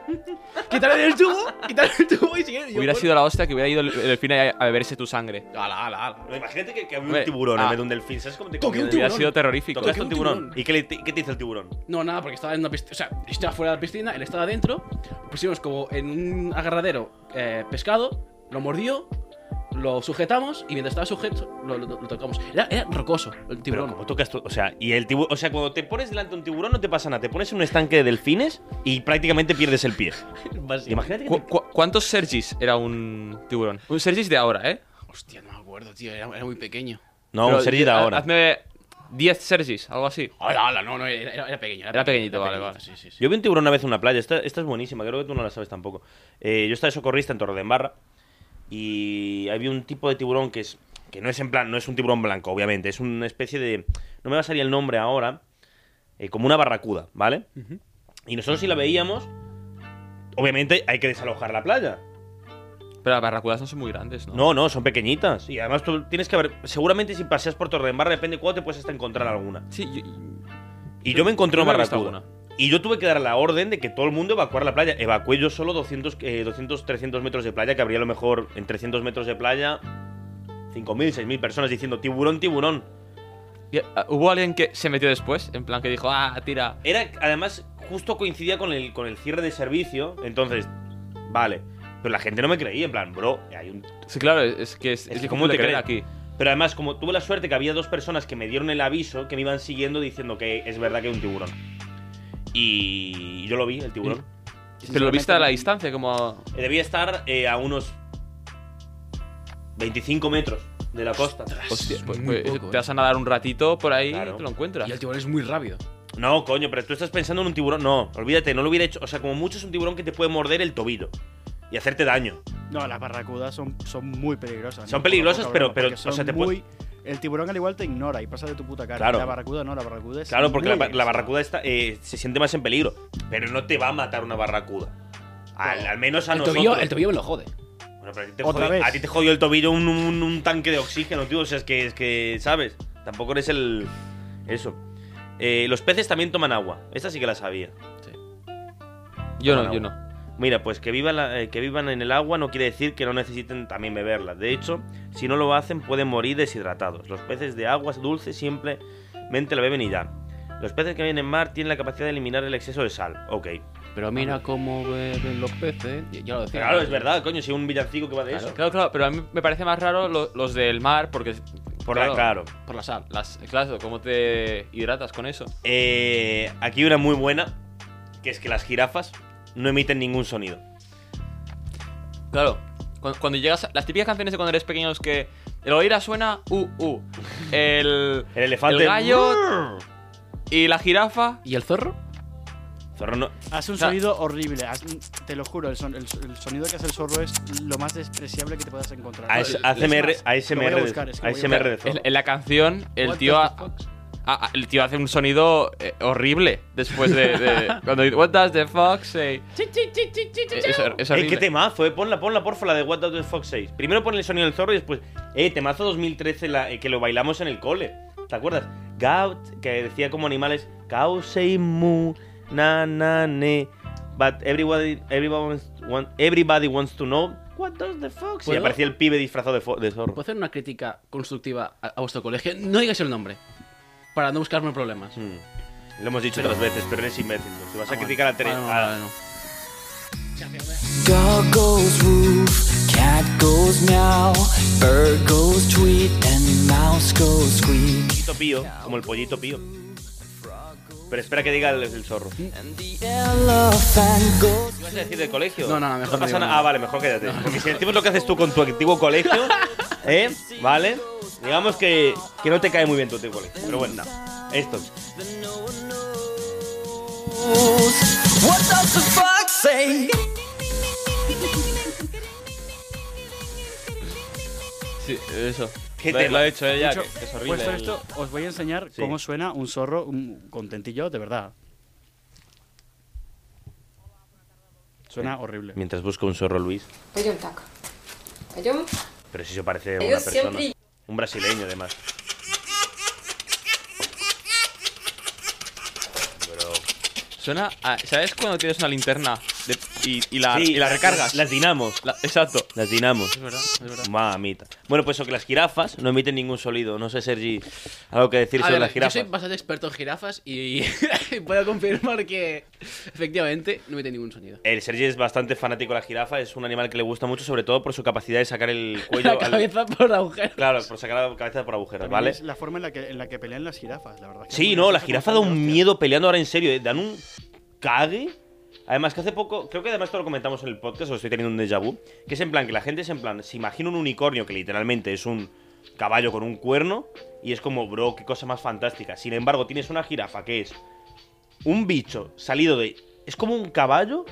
D: Quitarle el tubo, quitarle el tubo y siguen. y yo,
C: hubiera
D: bueno.
C: sido la hostia que hubiera ido el, el delfín a, a beberse tu sangre.
D: Ala, ala, ala.
B: No, imagínate que, que había un
C: Hombre,
B: tiburón en
C: ah.
B: vez de un delfín. ¿Sabes cómo te
D: Toqué un
B: comías?
C: Hubiera
D: Tiburón.
C: sido terrorífico.
B: Tocaste un
D: un
B: tiburón.
D: tiburón.
B: ¿Y qué, le- qué te hizo el tiburón?
D: No, nada, porque estaba en una piscina. O sea, yo estaba fuera de la piscina, él estaba adentro. Pusimos como en un agarradero eh, pescado, lo mordió, lo sujetamos y mientras estaba sujeto, lo, lo- lo tocamos. Era, era rocoso el
B: Pero
D: tiburón.
B: como tocas tú, o sea, y el tiburón, o sea, cuando te pones delante de un tiburón no te pasa nada, te pones en un estanque de delfines y prácticamente pierdes el pie.
D: Básicamente.
B: Imagínate que
C: ¿Cu- cu- cuántos Sergis era un tiburón? Un Sergis de ahora, ¿eh?
D: Hostia, no me acuerdo, tío, era, era muy pequeño.
B: No,
C: Pero
B: un Sergi de
C: ha-
B: ahora.
C: Hazme 10 Sergis, algo así.
D: Hola, hola, no, no, era, era- era pequeño.
C: Era pequeñito, vale, vale.
D: Sí, sí, sí.
B: Yo vi un tiburón una vez en una playa, esta, esta es buenísima, creo que tú no la sabes tampoco. Eh, yo estaba de socorrista en Torredembarra y había un tipo de tiburón que es que no es en plan, no es un tiburón blanco, obviamente, es una especie de no me va a salir el nombre ahora, eh, como una barracuda, ¿vale? Y nosotros si la veíamos, obviamente hay que desalojar la playa.
C: Pero las barracudas no son muy grandes, ¿no?
B: No, no, son pequeñitas. Y además tú tienes que ver. Seguramente si paseas por Torredembarra, depende cuándo te puedes hasta encontrar alguna.
C: Sí, yo-
B: Y yo me encontré
C: Yo
B: una
C: no he visto
B: barracuda.
C: alguna.
B: Y yo tuve que dar la orden de que todo el mundo evacuara la playa. Evacué yo solo 200, eh, 200 300 metros de playa, que habría a lo mejor en 300 metros de playa 5.000, 6.000 personas diciendo tiburón, tiburón.
C: Y, ah, ¿Hubo alguien que se metió después? En plan que dijo, ah, tira.
B: Era, además, justo coincidía con el, con el cierre de servicio. Entonces, vale. Pero la gente no me creía, en plan, bro, hay un
C: Sí, claro, es, es que
B: Es
C: es, es
B: que
C: difícil
B: ¿cómo
C: de
B: te
C: creer
B: creen?
C: aquí.
B: Pero además, como tuve la suerte que había dos personas que me dieron el aviso, que me iban siguiendo diciendo que es verdad que hay un tiburón. Y yo lo vi, el tiburón.
D: Mm.
C: Pero lo viste a la
E: Sinceramente,
C: distancia, como.
B: Eh, Debía estar eh, a unos 25 metros de la costa.
C: Hostia, pues,
D: muy
C: pues,
D: poco,
C: te
D: eh.
C: vas a nadar un ratito por ahí
B: Claro.
C: y te lo encuentras.
D: Y el tiburón es muy rápido.
B: No, coño, pero tú estás pensando en un tiburón. No, olvídate, no lo hubiera hecho. O sea, como mucho es un tiburón que te puede morder el tobillo y hacerte daño.
E: No, las barracudas son, son muy peligrosas.
B: Son
E: ¿no?
B: peligrosas,
E: Poco,
B: pero-
E: cabrón,
B: pero,
E: porque
B: o sea,
E: son
B: te puede-
E: muy- El tiburón al igual te ignora y pasa de tu puta cara.
B: Claro.
E: La barracuda no, la barracuda es.
B: Claro, porque la,
E: muy
B: ba- la
E: agresiva.
B: barracuda está, eh, se siente más en peligro. Pero no te va a matar una barracuda. Al, al menos a
D: El
B: nosotros.
D: tobillo, el tobillo me lo jode.
B: Bueno, pero a ti te,
E: Otra
B: jodió,
E: vez.
B: a ti te jodió el tobillo un, un- un tanque de oxígeno, tío. O sea, es que, es que ¿sabes? Tampoco eres el. Eso. Eh, los peces también toman agua. Esta sí que la sabía.
C: Yo no,
B: Toman
C: yo
B: agua.
C: no.
B: Mira, pues que, viva la- eh, que vivan en el agua no quiere decir que no necesiten también beberla. De hecho, si no lo hacen pueden morir deshidratados. Los peces de aguas dulces simplemente la beben y ya. Los peces que viven en mar tienen la capacidad de eliminar el exceso de sal. Ok.
D: Pero mira cómo beben los peces. eh. Ya- Ya lo decía.
B: Claro, es verdad, coño, si un villancico que va de eso.
C: Claro, claro, pero a mí me parece más raro lo- los del mar porque.
B: Por la- claro.
D: Por la sal.
C: Las, claro, ¿cómo te hidratas con eso?
B: Eh, aquí hay una muy buena, que es que las jirafas no emiten ningún sonido.
C: Claro, cuando, cuando llegas. a- Las típicas canciones de cuando eres pequeño es que. El oíra suena uh, uh. El.
B: El elefante. uh.
C: El gallo. Y la jirafa.
D: ¿Y el zorro?
B: Zorro no-
E: Hace un
C: O sea-
E: sonido horrible. haz- te lo juro, el, son- el- el sonido que hace el zorro es lo más despreciable que te puedas encontrar.
B: AS-
E: Es
B: ASMR,
E: más, lo
B: ASMR,
E: voy a
B: de-
E: buscar, es que lo voy a
B: ASMR de
E: buscar.
B: zorro.
C: En, en la canción, el tío, ha- ha- ha- Ah, el tío hace un sonido eh, horrible después de. de- cuando dice, What does the fox say? Eh, es, hor- es
B: Eh,
C: horrible.
B: qué temazo, eh. Ponla, ponla, porfa, la de What Does the Fox 6. Primero pon el sonido del zorro y después. Eh, temazo 2013, la, eh, que lo bailamos en el cole. ¿Te acuerdas? Gout, que decía como animales. Cow say moo, na na ne. But everybody, everybody, wants, want- everybody wants to know. What does the fox? Y
D: ¿Puedo?
B: aparecía el pibe disfrazado de, fo- de zorro.
D: ¿Puedo hacer una crítica constructiva a, a vuestro colegio? No digas el nombre. Para no buscarme problemas.
B: Mm. Lo hemos dicho otras veces, pero eres imbécil. Si vas a criticar a Teresa.
D: Ah, Bueno,
B: a-
D: bueno.
F: Dog goes woof, cat goes meow, bird goes tweet, and mouse goes squeak.
B: pollito pío, como el pollito pío. Pero espera que diga el, el zorro.
F: Elephant goes.
B: ¿Qué vas a decir del colegio?
D: No, no, no, mejor no
B: pasa
D: digo
B: nada.
D: nada.
B: Ah, vale, mejor quédate. Porque si decimos lo que haces tú con tu antiguo colegio, ¿eh? ¿Vale? Digamos que, que no te cae muy bien tu antiguo colegio. Pero bueno, esto.
F: What does the fox say?
C: Sí, eso.
B: Qué
C: Lo,
B: tema.
C: lo he hecho ella,
E: Dicho-
C: que, que es horrible.
E: Puesto
C: el-
E: esto, os voy a enseñar
B: Sí.
E: cómo suena un zorro un contentillo de verdad. Suena horrible.
B: Mientras busco un zorro Luis.
G: Пойдем так. Пойдем.
B: Pero si se parece a una
G: Ellos
B: persona.
G: siempre-
B: Un brasileño, además.
C: Suena. a- ¿Sabes cuando tienes una linterna de- y, y
B: Ah,
C: la, y la recargas?
B: Las dinamos.
C: La- exacto.
B: Las dinamos.
C: Es verdad, es verdad.
B: Mamita. Bueno, pues eso, que las jirafas no emiten ningún sonido. No sé, Sergi, algo que decir
D: A
B: sobre
D: ver,
B: las
D: yo
B: jirafas.
D: soy bastante experto en jirafas y puedo confirmar que efectivamente no mete ningún sonido.
B: El Sergi es bastante fanático de la jirafa, es un animal que le gusta mucho, sobre todo por su capacidad de sacar el cuello.
D: La
B: Pues al-
D: cabeza por agujero.
B: Claro, por sacar la cabeza por agujeros,
E: También
B: ¿vale?
E: es la forma en la que, en la que pelean las jirafas, la verdad. que es
B: Sí,
E: muy
B: no, la
E: graciosa
B: jirafa da
E: cómo
B: un
E: están, hostia.
B: miedo peleando ahora en serio, ¿eh? Dan un cague. Además que hace poco, creo que además esto lo comentamos en el podcast, o estoy teniendo un déjà vu, que es en plan, que la gente es en plan, se imagina un unicornio que literalmente es un caballo con un cuerno y es como, bro, qué cosa más fantástica. Sin embargo, tienes una jirafa que es un bicho salido de... Es como un caballo,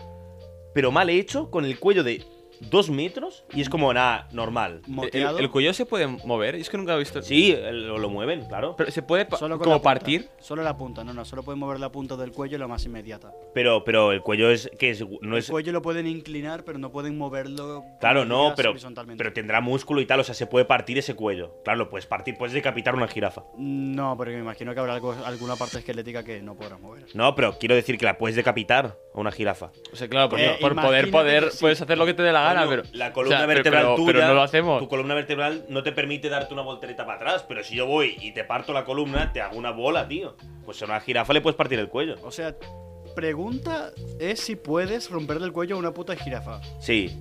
B: pero mal hecho, con el cuello de dos metros y es como, nada, normal.
C: El,
E: Moteado,
C: el cuello se puede mover. Es que nunca he visto.
B: Sí, el- lo, lo mueven, claro.
C: Pero se puede pa-
E: solo con la
C: como
E: punta,
C: partir.
E: Solo la punta, no, no, solo pueden mover la punta del cuello la más inmediata.
B: Pero, pero el cuello es que es, no
E: El
B: es
E: cuello lo pueden inclinar, pero no pueden moverlo.
B: Pues, Claro,
E: como
B: no,
E: digas,
B: pero,
E: horizontalmente.
B: pero tendrá músculo y tal, o sea, se puede partir ese cuello. Claro, lo puedes partir, puedes decapitar una jirafa.
E: No, porque me imagino que habrá algo- alguna parte esquelética que no podrás mover.
B: No, pero quiero decir que la puedes decapitar a una jirafa.
C: O sea, claro, por,
E: Eh,
C: por poder,
E: imagínate
C: poder,
E: que sí.
C: puedes hacer lo que te dé la gana,
B: Coño,
C: pero.
B: la columna
C: o sea, pero-
B: vertebral
C: pero,
B: tuya,
C: pero no lo hacemos.
B: tu columna vertebral no te permite darte una voltereta para atrás, pero si yo voy y te parto la columna, te hago una bola, tío. Pues a una jirafa le puedes partir el cuello.
E: O sea, pregunta es si puedes romperle el cuello a una puta jirafa.
B: Sí,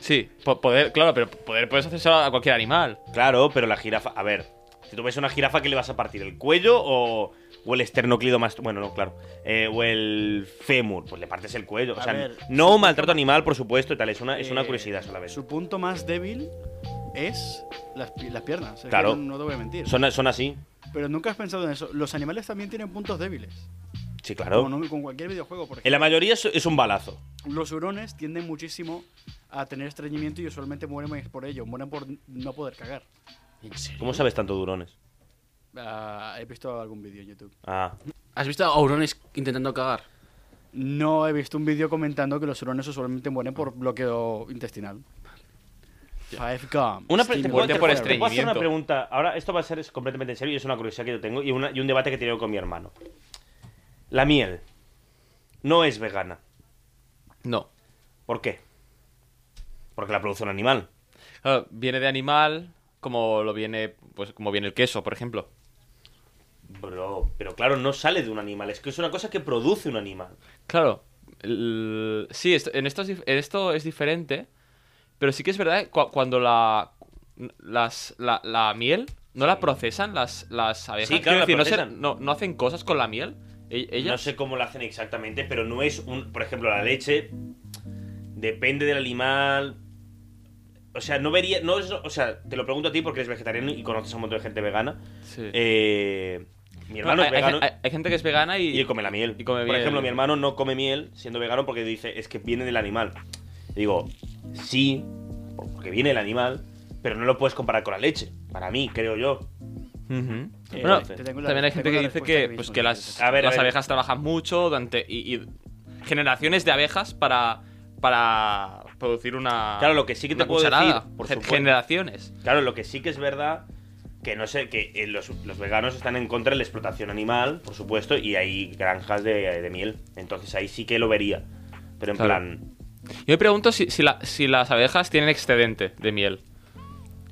C: Sí, po- poder, claro, pero poder puedes hacerlo a cualquier animal.
B: claro, pero la jirafa, a ver, si tú ves una jirafa, ¿qué le vas a partir? ¿El cuello o, o el esternoclido más, bueno, no, claro, Eh, o el fémur? Pues le partes el cuello. O
E: A
B: sea,
E: ver,
B: no maltrato animal, por supuesto, y tal, es una, es una
E: Eh,
B: curiosidad solamente.
E: Su punto más débil es las, pi- las piernas. Es que
B: Claro.
E: no, no te voy a mentir.
B: Son, son así.
E: Pero nunca has pensado en eso. Los animales también tienen puntos débiles.
B: Sí, claro.
E: Como no- con cualquier videojuego, por
B: En la
E: ejemplo.
B: mayoría es, es un balazo.
E: Los hurones tienden muchísimo a tener estreñimiento y usualmente mueren por ello. Mueren por no poder cagar.
D: ¿En serio?
B: ¿Cómo sabes tanto durones?
E: Ah, he visto algún vídeo en YouTube.
B: Ah,
D: ¿Has visto a Aurones intentando cagar?
E: No he visto un vídeo comentando que los hurones usualmente mueren por bloqueo intestinal. Five gum.
B: Una pre-
E: Steam
B: te puedo hacer-
E: Water
C: por
E: Forever.
B: te puedo hacer una
C: estreñimiento.
B: pregunta. Ahora, esto va a ser es completamente en serio y es una curiosidad que yo tengo y, una- y un debate que he tenido con mi hermano. La miel no es vegana.
C: No.
B: ¿Por qué? Porque la produce un animal.
C: Claro, viene de animal, como lo viene, pues como viene el queso, por ejemplo.
B: Bro, pero claro, no sale de un animal. Es que es una cosa que produce un animal.
C: Claro. el- sí, esto, en esto es, dif- en esto es diferente. Pero sí que es verdad que cua- cuando la, las, la, la miel no la procesan las, las abejas.
B: claro, la
C: Quiero decir, no, se-
B: procesan.
C: no, no hacen cosas con la miel. E- Ellas.
B: No sé cómo lo hacen exactamente, pero no es un. Por ejemplo, la leche. Depende del animal. O sea, no vería. No es, o sea, te lo pregunto a ti porque eres vegetariano y conoces a un montón de gente vegana.
C: Sí.
B: Eh, mi
C: No,
B: hermano
C: hay,
B: es
C: hay
B: vegano.
C: gen- hay- hay gente que es vegana y,
B: Y come la miel.
C: y come
B: Por
C: miel.
B: ejemplo, mi hermano no come miel siendo vegano porque dice, es que viene del animal. Y digo, sí, porque viene del animal, pero no lo puedes comparar con la leche. Para mí, creo yo.
C: Ujú.
B: Eh,
C: Bueno,
B: te
E: tengo la-
C: también hay
E: te
C: gente que
E: tengo la
C: dice
E: respuesta
C: que,
E: que
C: pues, que
E: mismo
C: las,
E: dices.
B: A ver,
C: las
B: a ver.
C: abejas trabajan mucho durante y, y generaciones de abejas para, para producir una.
B: Claro, lo que sí que te
C: una
B: puedo
C: cucharada.
B: decir, por
C: Gen-
B: supuesto.
C: Generaciones.
B: Claro, lo que sí que es verdad, que no sé, que eh, los, los veganos están en contra de la explotación animal, por supuesto, y hay granjas de, de miel. Entonces ahí sí que lo vería. Pero en
C: Claro.
B: plan,
C: Yo me pregunto si, si, la- si las abejas tienen excedente de miel.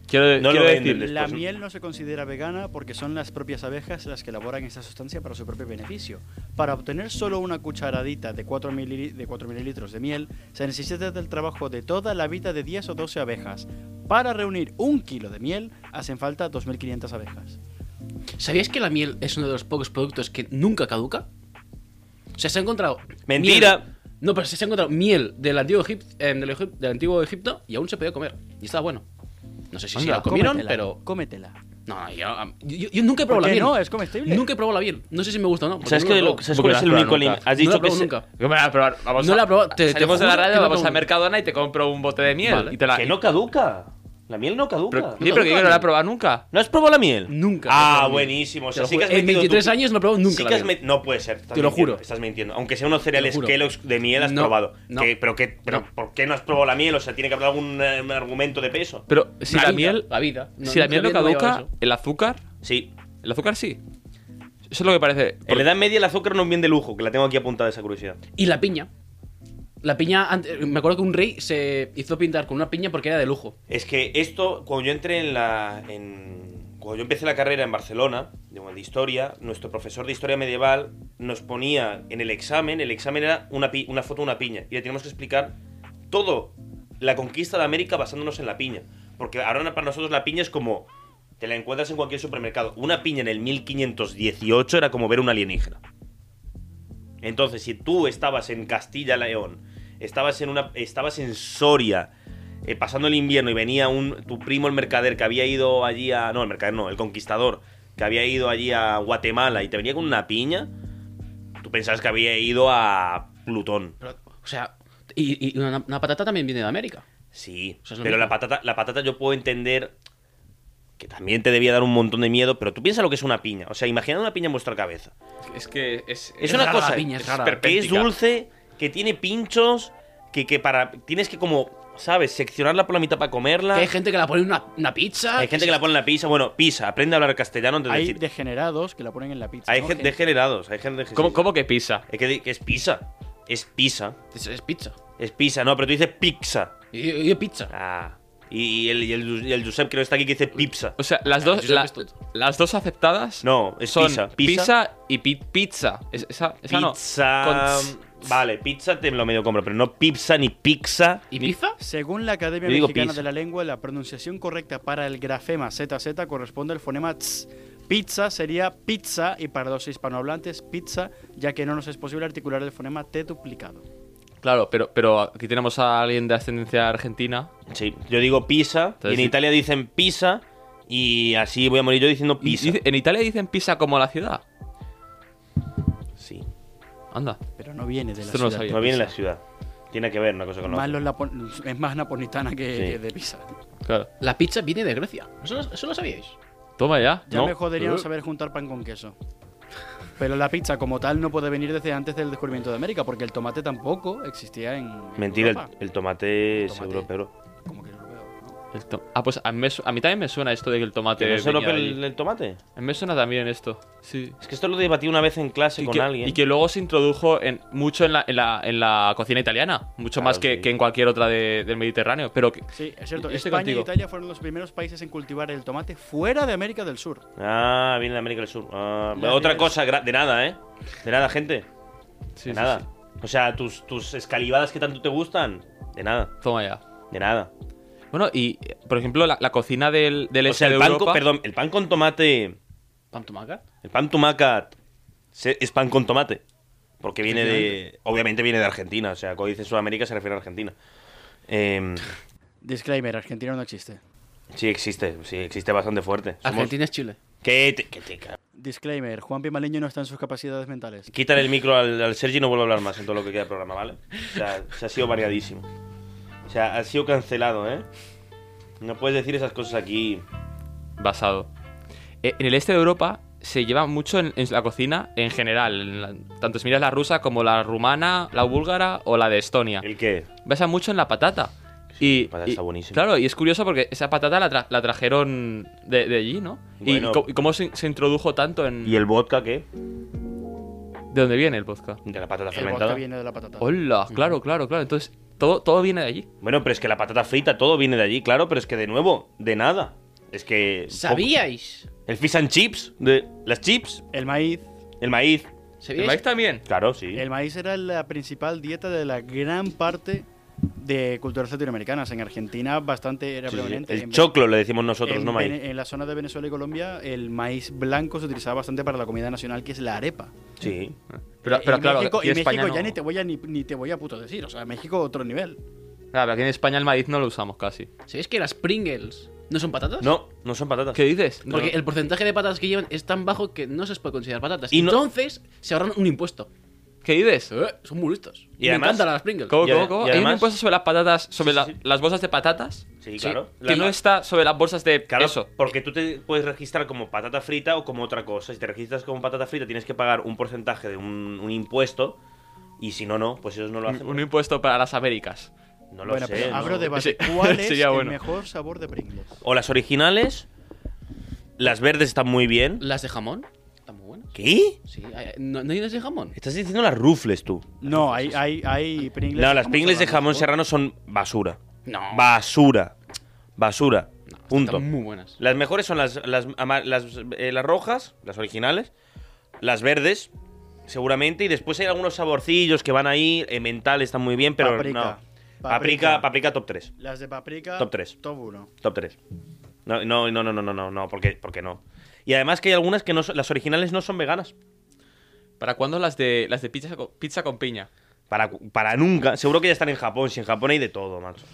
C: Quiero,
B: No lo
C: quiero
B: venden.
C: decir.
E: La
B: Después-
E: miel no se considera vegana porque son las propias abejas las que elaboran esta sustancia para su propio beneficio. Para obtener solo una cucharadita de 4, mili- de 4 mililitros de miel, se necesita del trabajo de toda la vida de 10 o 12 abejas. Para reunir un kilo de miel, hacen falta 2.500 abejas.
D: ¿Sabías que la miel es uno de los pocos productos que nunca caduca? O sea, se ha encontrado.
B: Mentira.
D: miel- No, pero se ha encontrado miel del antiguo, Egip- eh, del, Egip- del antiguo Egipto y aún se podía comer. Y estaba bueno. No sé si se
E: Anda,
D: la comieron,
E: cómetela,
D: pero.
E: Cómetela.
D: No, yo, yo- yo nunca he probado
E: ¿Por
D: la
E: qué
D: miel.
E: no? Es comestible.
D: Nunca he probado la miel. No sé si me gusta o no. porque
B: ¿sabes,
D: no la
B: que
D: he
B: lo-
D: probado.
B: ¿sabes
C: Porque
B: cuál
C: no
B: es
C: la
B: el único
C: pruebo nunca.
B: alimento? Has
D: No la
B: dicho
D: pruebo
B: que se-
D: nunca.
C: Yo me la voy a probar. Vamos
D: No
C: a,
D: la he probado, te- te
C: salimos de la
D: juro que
C: radio,
D: no la
C: vamos a
D: pregunto.
C: Mercadona y te compro un bote de miel.
D: Vale.
C: Ah, Y te la...
B: que no caduca. La miel no caduca.
C: Pero, sí, pero que yo no la he probado nunca.
B: ¿No has probado la miel?
D: Nunca.
B: Ah,
D: Nunca.
B: buenísimo. O
D: Te
B: sea,
D: lo
B: sí que
D: juro. Eh,
B: has
D: En
B: metido
D: 23
B: tu-
D: años no he probado nunca
B: Sí
D: la
B: que has
D: miel.
B: met- No puede ser. estás
D: Te lo
B: mintiendo,
D: juro.
B: Estás mintiendo. Aunque sea unos cereales
D: juro.
B: Kellogg's de miel has
D: No,
B: probado.
D: no.
B: Que- pero que, pero
D: No.
B: ¿por qué no has probado la miel? O sea, tiene que haber algún eh, argumento de peso.
C: Pero si la,
D: vida,
C: miel.
D: La vida. No,
C: si la miel no
D: había probado
C: caduca,
D: eso.
C: el azúcar.
B: Sí.
C: El azúcar sí. Eso es lo que parece.
B: En
C: Porque-
B: la Edad Media el azúcar no es un bien de lujo, que la tengo aquí apuntada esa curiosidad.
D: Y la piña. La piña. ante- Me acuerdo que un rey se hizo pintar con una piña porque era de lujo.
B: Es que esto, cuando yo entré en la. en- cuando yo empecé la carrera en Barcelona, de, de historia, nuestro profesor de historia medieval nos ponía en el examen, el examen era una, pi- una foto de una piña, y le teníamos que explicar todo la conquista de América basándonos en la piña. Porque ahora para nosotros la piña es como. Te la encuentras en cualquier supermercado. Una piña en el 1518 era como ver un alienígena. Entonces, si tú estabas en Castilla León, estabas en una. estabas en Soria, eh, pasando el invierno, y venía un. tu primo el mercader que había ido allí a. No, el mercader no, el conquistador, que había ido allí a Guatemala y te venía con una piña, tú pensabas que había ido a Plutón.
D: Pero, o sea. Y, y una, una patata también viene de América.
B: Sí.
D: O sea, es lo
B: pero
D: mismo.
B: la patata, la patata yo puedo entender. Que también te debía dar un montón de miedo, pero tú piensa lo que es una piña. O sea, imaginad una piña en vuestra cabeza.
C: Es que es.
B: Es una
D: rara
B: cosa
D: la piña, es
B: es
D: rara.
B: que es
C: perpéntica.
B: dulce, que tiene pinchos, que, que para tienes que como, ¿sabes? Seccionarla por la mitad para comerla.
D: Que hay gente que la pone en una, una pizza.
B: Ah.
C: Ah,
B: Hay gente que la pone en la pizza. Bueno, pizza, aprende a hablar castellano antes de
E: Hay
B: decir.
E: degenerados que la ponen en la pizza.
B: hay
E: ¿no?
B: gente degenerados, hay gente de
C: ¿Cómo, cómo que pisa?
B: Es que, di- que es pizza. Es pizza.
D: Es, es pizza.
B: Es pizza, no, pero tú dices pizza.
D: Y, y- y pizza.
B: Ah. Y, y el, y, el, Ju- y el Josep que no está aquí que dice pizza.
C: O sea, las dos,
D: yo
C: la-
D: he visto-
C: las dos aceptadas
B: No, es
C: son
B: pizza,
C: pizza,
B: pizza.
C: y pi- pizza. Es- esa, esa no.
B: Pizza. mm,
C: Con tss.
B: Vale, pizza te lo medio compro, pero no pizza ni pizza.
D: ¿Y pizza?
E: Según la Academia
B: Yo digo
E: Mexicana
B: pizza.
E: de la Lengua, la pronunciación correcta para el grafema ZZ corresponde al fonema TS. Pizza sería pizza y para los hispanohablantes pizza, ya que no nos es posible articular el fonema T duplicado.
C: Claro, pero, pero aquí tenemos a alguien de ascendencia argentina.
B: Sí, yo digo pizza, y en
C: sí.
B: Italia dicen pizza, y así voy a morir yo diciendo
C: Y
B: pizza.
C: dice- en Italia dicen pizza como la ciudad.
B: Sí.
C: Anda.
E: pero no viene de la
C: Esto no lo
E: ciudad.
C: sabía.
B: No viene la ciudad. Tiene que ver una cosa con la
E: Más
B: otra.
E: los lapo- es más napolitana que,
B: Sí.
E: que de Pisa.
C: Claro.
D: La pizza viene de Grecia. ¿Eso, lo- eso lo sabíais?
C: Toma ya.
E: Ya
C: ¿no?
E: me jodería
B: Uh.
E: no
C: Eh,
E: saber juntar pan con queso. Pero la pizza como tal no puede venir desde antes del descubrimiento de América, porque el tomate tampoco existía en, en
B: Mentira, el,
E: Europa.
B: el tomate es
E: Tomate.
B: europeo.
E: Como que europeo, ¿no?
C: el tom- Ah, pues a mí, me su- a mí también me suena esto de que el tomate.
B: ¿Que no es europeo
C: venía de
B: el,
C: allí.
B: el tomate?
C: A mí me suena también esto. Sí.
B: Es que esto lo debatí una vez en clase
C: Y
B: con
C: que,
B: alguien.
C: y que luego se introdujo en, mucho en la, en, la, en la cocina italiana, mucho
B: Claro,
C: más que,
B: sí.
C: que en cualquier otra de- del Mediterráneo. Pero que,
E: Sí, es cierto.
C: Yo estoy
E: España
C: contigo.
E: e Italia fueron los primeros países en cultivar el tomate fuera de América del Sur.
B: Ah, viene de América del Sur. Ah,
E: La
B: otra
E: América del
B: cosa, gra- de nada, ¿eh? De nada, gente.
C: sí,
B: De
C: sí,
B: nada.
C: sí.
B: O sea, tus, tus escalivadas que tanto te gustan. De nada,
C: Toma ya.
B: de nada.
C: Bueno, y eh, por ejemplo, la, la cocina del, del
B: O
C: este
B: sea, el
C: de
B: pan,
C: Europa.
B: con, perdón, el pan con tomate,
D: ¿Pan tomaca?
B: el pan tumaca se- es pan con tomate. Porque viene de. Obviamente viene de Argentina. O sea, cuando dice Sudamérica se refiere a Argentina. Em,
E: Disclaimer, Argentina no existe.
B: sí, existe. Sí, existe bastante fuerte. Somos-
D: Argentina es Chile.
B: Que te- que te- ca-
E: Disclaimer, Juan Pimaleño no está en sus capacidades mentales.
B: Quítale el micro al, al Sergi y no vuelvo a hablar más en todo lo que queda del programa, ¿vale? O sea, se ha sido variadísimo. O sea, ha sido cancelado, ¿eh? No puedes decir esas cosas aquí.
C: Basado. Eh, en el este de Europa se lleva mucho en, en la cocina en general. en la- tanto si miras la rusa como la rumana, la búlgara o la de Estonia.
B: ¿El qué?
C: basa mucho en la patata. Y,
B: la patata
C: y-
B: está buenísima.
C: Claro, y es curioso porque esa patata la, tra- la trajeron de, de allí, ¿no? Y-
B: Bueno.
C: Y, co- y cómo se, se introdujo tanto en...
B: ¿Y el vodka qué?
C: ¿De dónde viene el vodka?
B: De la patata
E: El vodka
B: fermentada.
E: viene de la patata.
C: Hola, claro, claro, claro. Entonces, todo, todo viene de allí.
B: Bueno, pero es que la patata frita, todo viene de allí, claro, pero es que de nuevo, de nada. Es que.
D: ¿Sabíais?
B: El fish and chips, de las chips,
E: El maíz.
B: el maíz.
C: ¿El
D: ¿Sabíais?
C: maíz también?
B: Claro, sí.
E: El maíz era la principal dieta de la gran parte de culturas latinoamericanas. En Argentina bastante era
B: Sí, sí, sí.
E: prevalente.
B: El
E: En-
B: choclo le decimos nosotros,
E: en,
B: no maíz.
E: Vene- en la zona de Venezuela y Colombia, el maíz blanco se utilizaba bastante para la comida nacional, que es la arepa.
B: Sí.
C: Pero,
E: Eh,
C: pero
E: y
C: claro,
E: México,
C: aquí
E: y
C: en
E: México
C: España
E: ya
C: no-
E: ni te voy a ni, ni te voy a puto decir. O sea, México otro nivel.
C: Claro, aquí en España el maíz no lo usamos casi.
D: ¿Sabéis que las Pringles no son patatas?
B: No, no son patatas.
C: ¿Qué dices? No,
D: Porque
C: no.
D: el porcentaje de patatas que llevan es tan bajo que no se les puede considerar patatas.
B: Y no-
D: Entonces se ahorran un impuesto.
C: ¿Qué dices?
D: Eh, son muy listos.
B: Y
D: Me
B: además-
D: encantan las Pringles.
C: ¿Cómo,
B: Y ade-
C: cómo, cómo?
B: y
C: Hay un
B: además-
C: impuesto sobre las patatas, sobre
B: Sí,
C: la-
B: sí, sí.
C: las bolsas de patatas.
B: Sí, claro.
C: Que no está sobre las bolsas de
B: Claro,
C: queso.
B: porque tú te puedes registrar como patata frita o como otra cosa. Si te registras como patata frita, tienes que pagar un porcentaje de un, un impuesto. Y si no, no, pues ellos no lo hacen.
C: Un, un impuesto para las Américas.
B: No lo
E: bueno,
B: sé.
E: pero
B: no.
E: abro debate.
C: Ese-
E: ¿Cuál es
C: sería
E: el
C: bueno.
E: mejor sabor de Pringles?
B: O las originales. Las verdes están muy bien.
D: Las de jamón. Están muy buenas.
B: ¿Qué?
D: Sí, hay- ¿no, no hay las de jamón?
B: Estás diciendo las rufles tú.
E: No, hay, hay, hay Pringles.
B: no,
E: de
B: las
E: jamón
B: pringles de
E: serrano,
B: jamón
E: ¿no?
B: serrano son basura.
D: No.
B: Basura. Basura. Punto.
D: Están muy buenas.
B: Las mejores son las, las, ama- las, eh, las rojas, las originales, las verdes, seguramente, y después hay algunos saborcillos que van ahí, eh, mental están muy bien, pero
E: Paprika.
B: no.
E: Paprika.
B: Paprika, paprika top 3.
E: Las de paprika.
B: Top tres.
E: Top 1.
B: Top 3. No, no, no, no, no, no, no, no, porque, porque no. Y además que hay algunas que no son- las originales no son veganas.
C: ¿Para cuándo las de las de pizza con, pizza con piña?
B: Para, para nunca. Seguro que ya están en Japón. Si en Japón hay de todo, macho.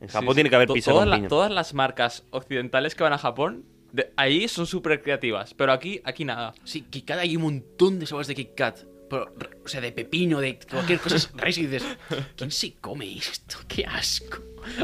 B: En Japón
C: Sí, sí.
B: tiene que haber
C: To-
B: pizza
C: todas
B: con
C: la-
B: piña.
C: todas las marcas occidentales que van a Japón, de- ahí son súper creativas, pero aquí, aquí nada.
D: Sí, Kit Kat hay un montón de sabores de Kit Kat. Pero, r- o sea, de pepino, de cualquier cosa. es raíz y dices, ¿quién se come esto? ¡Qué asco!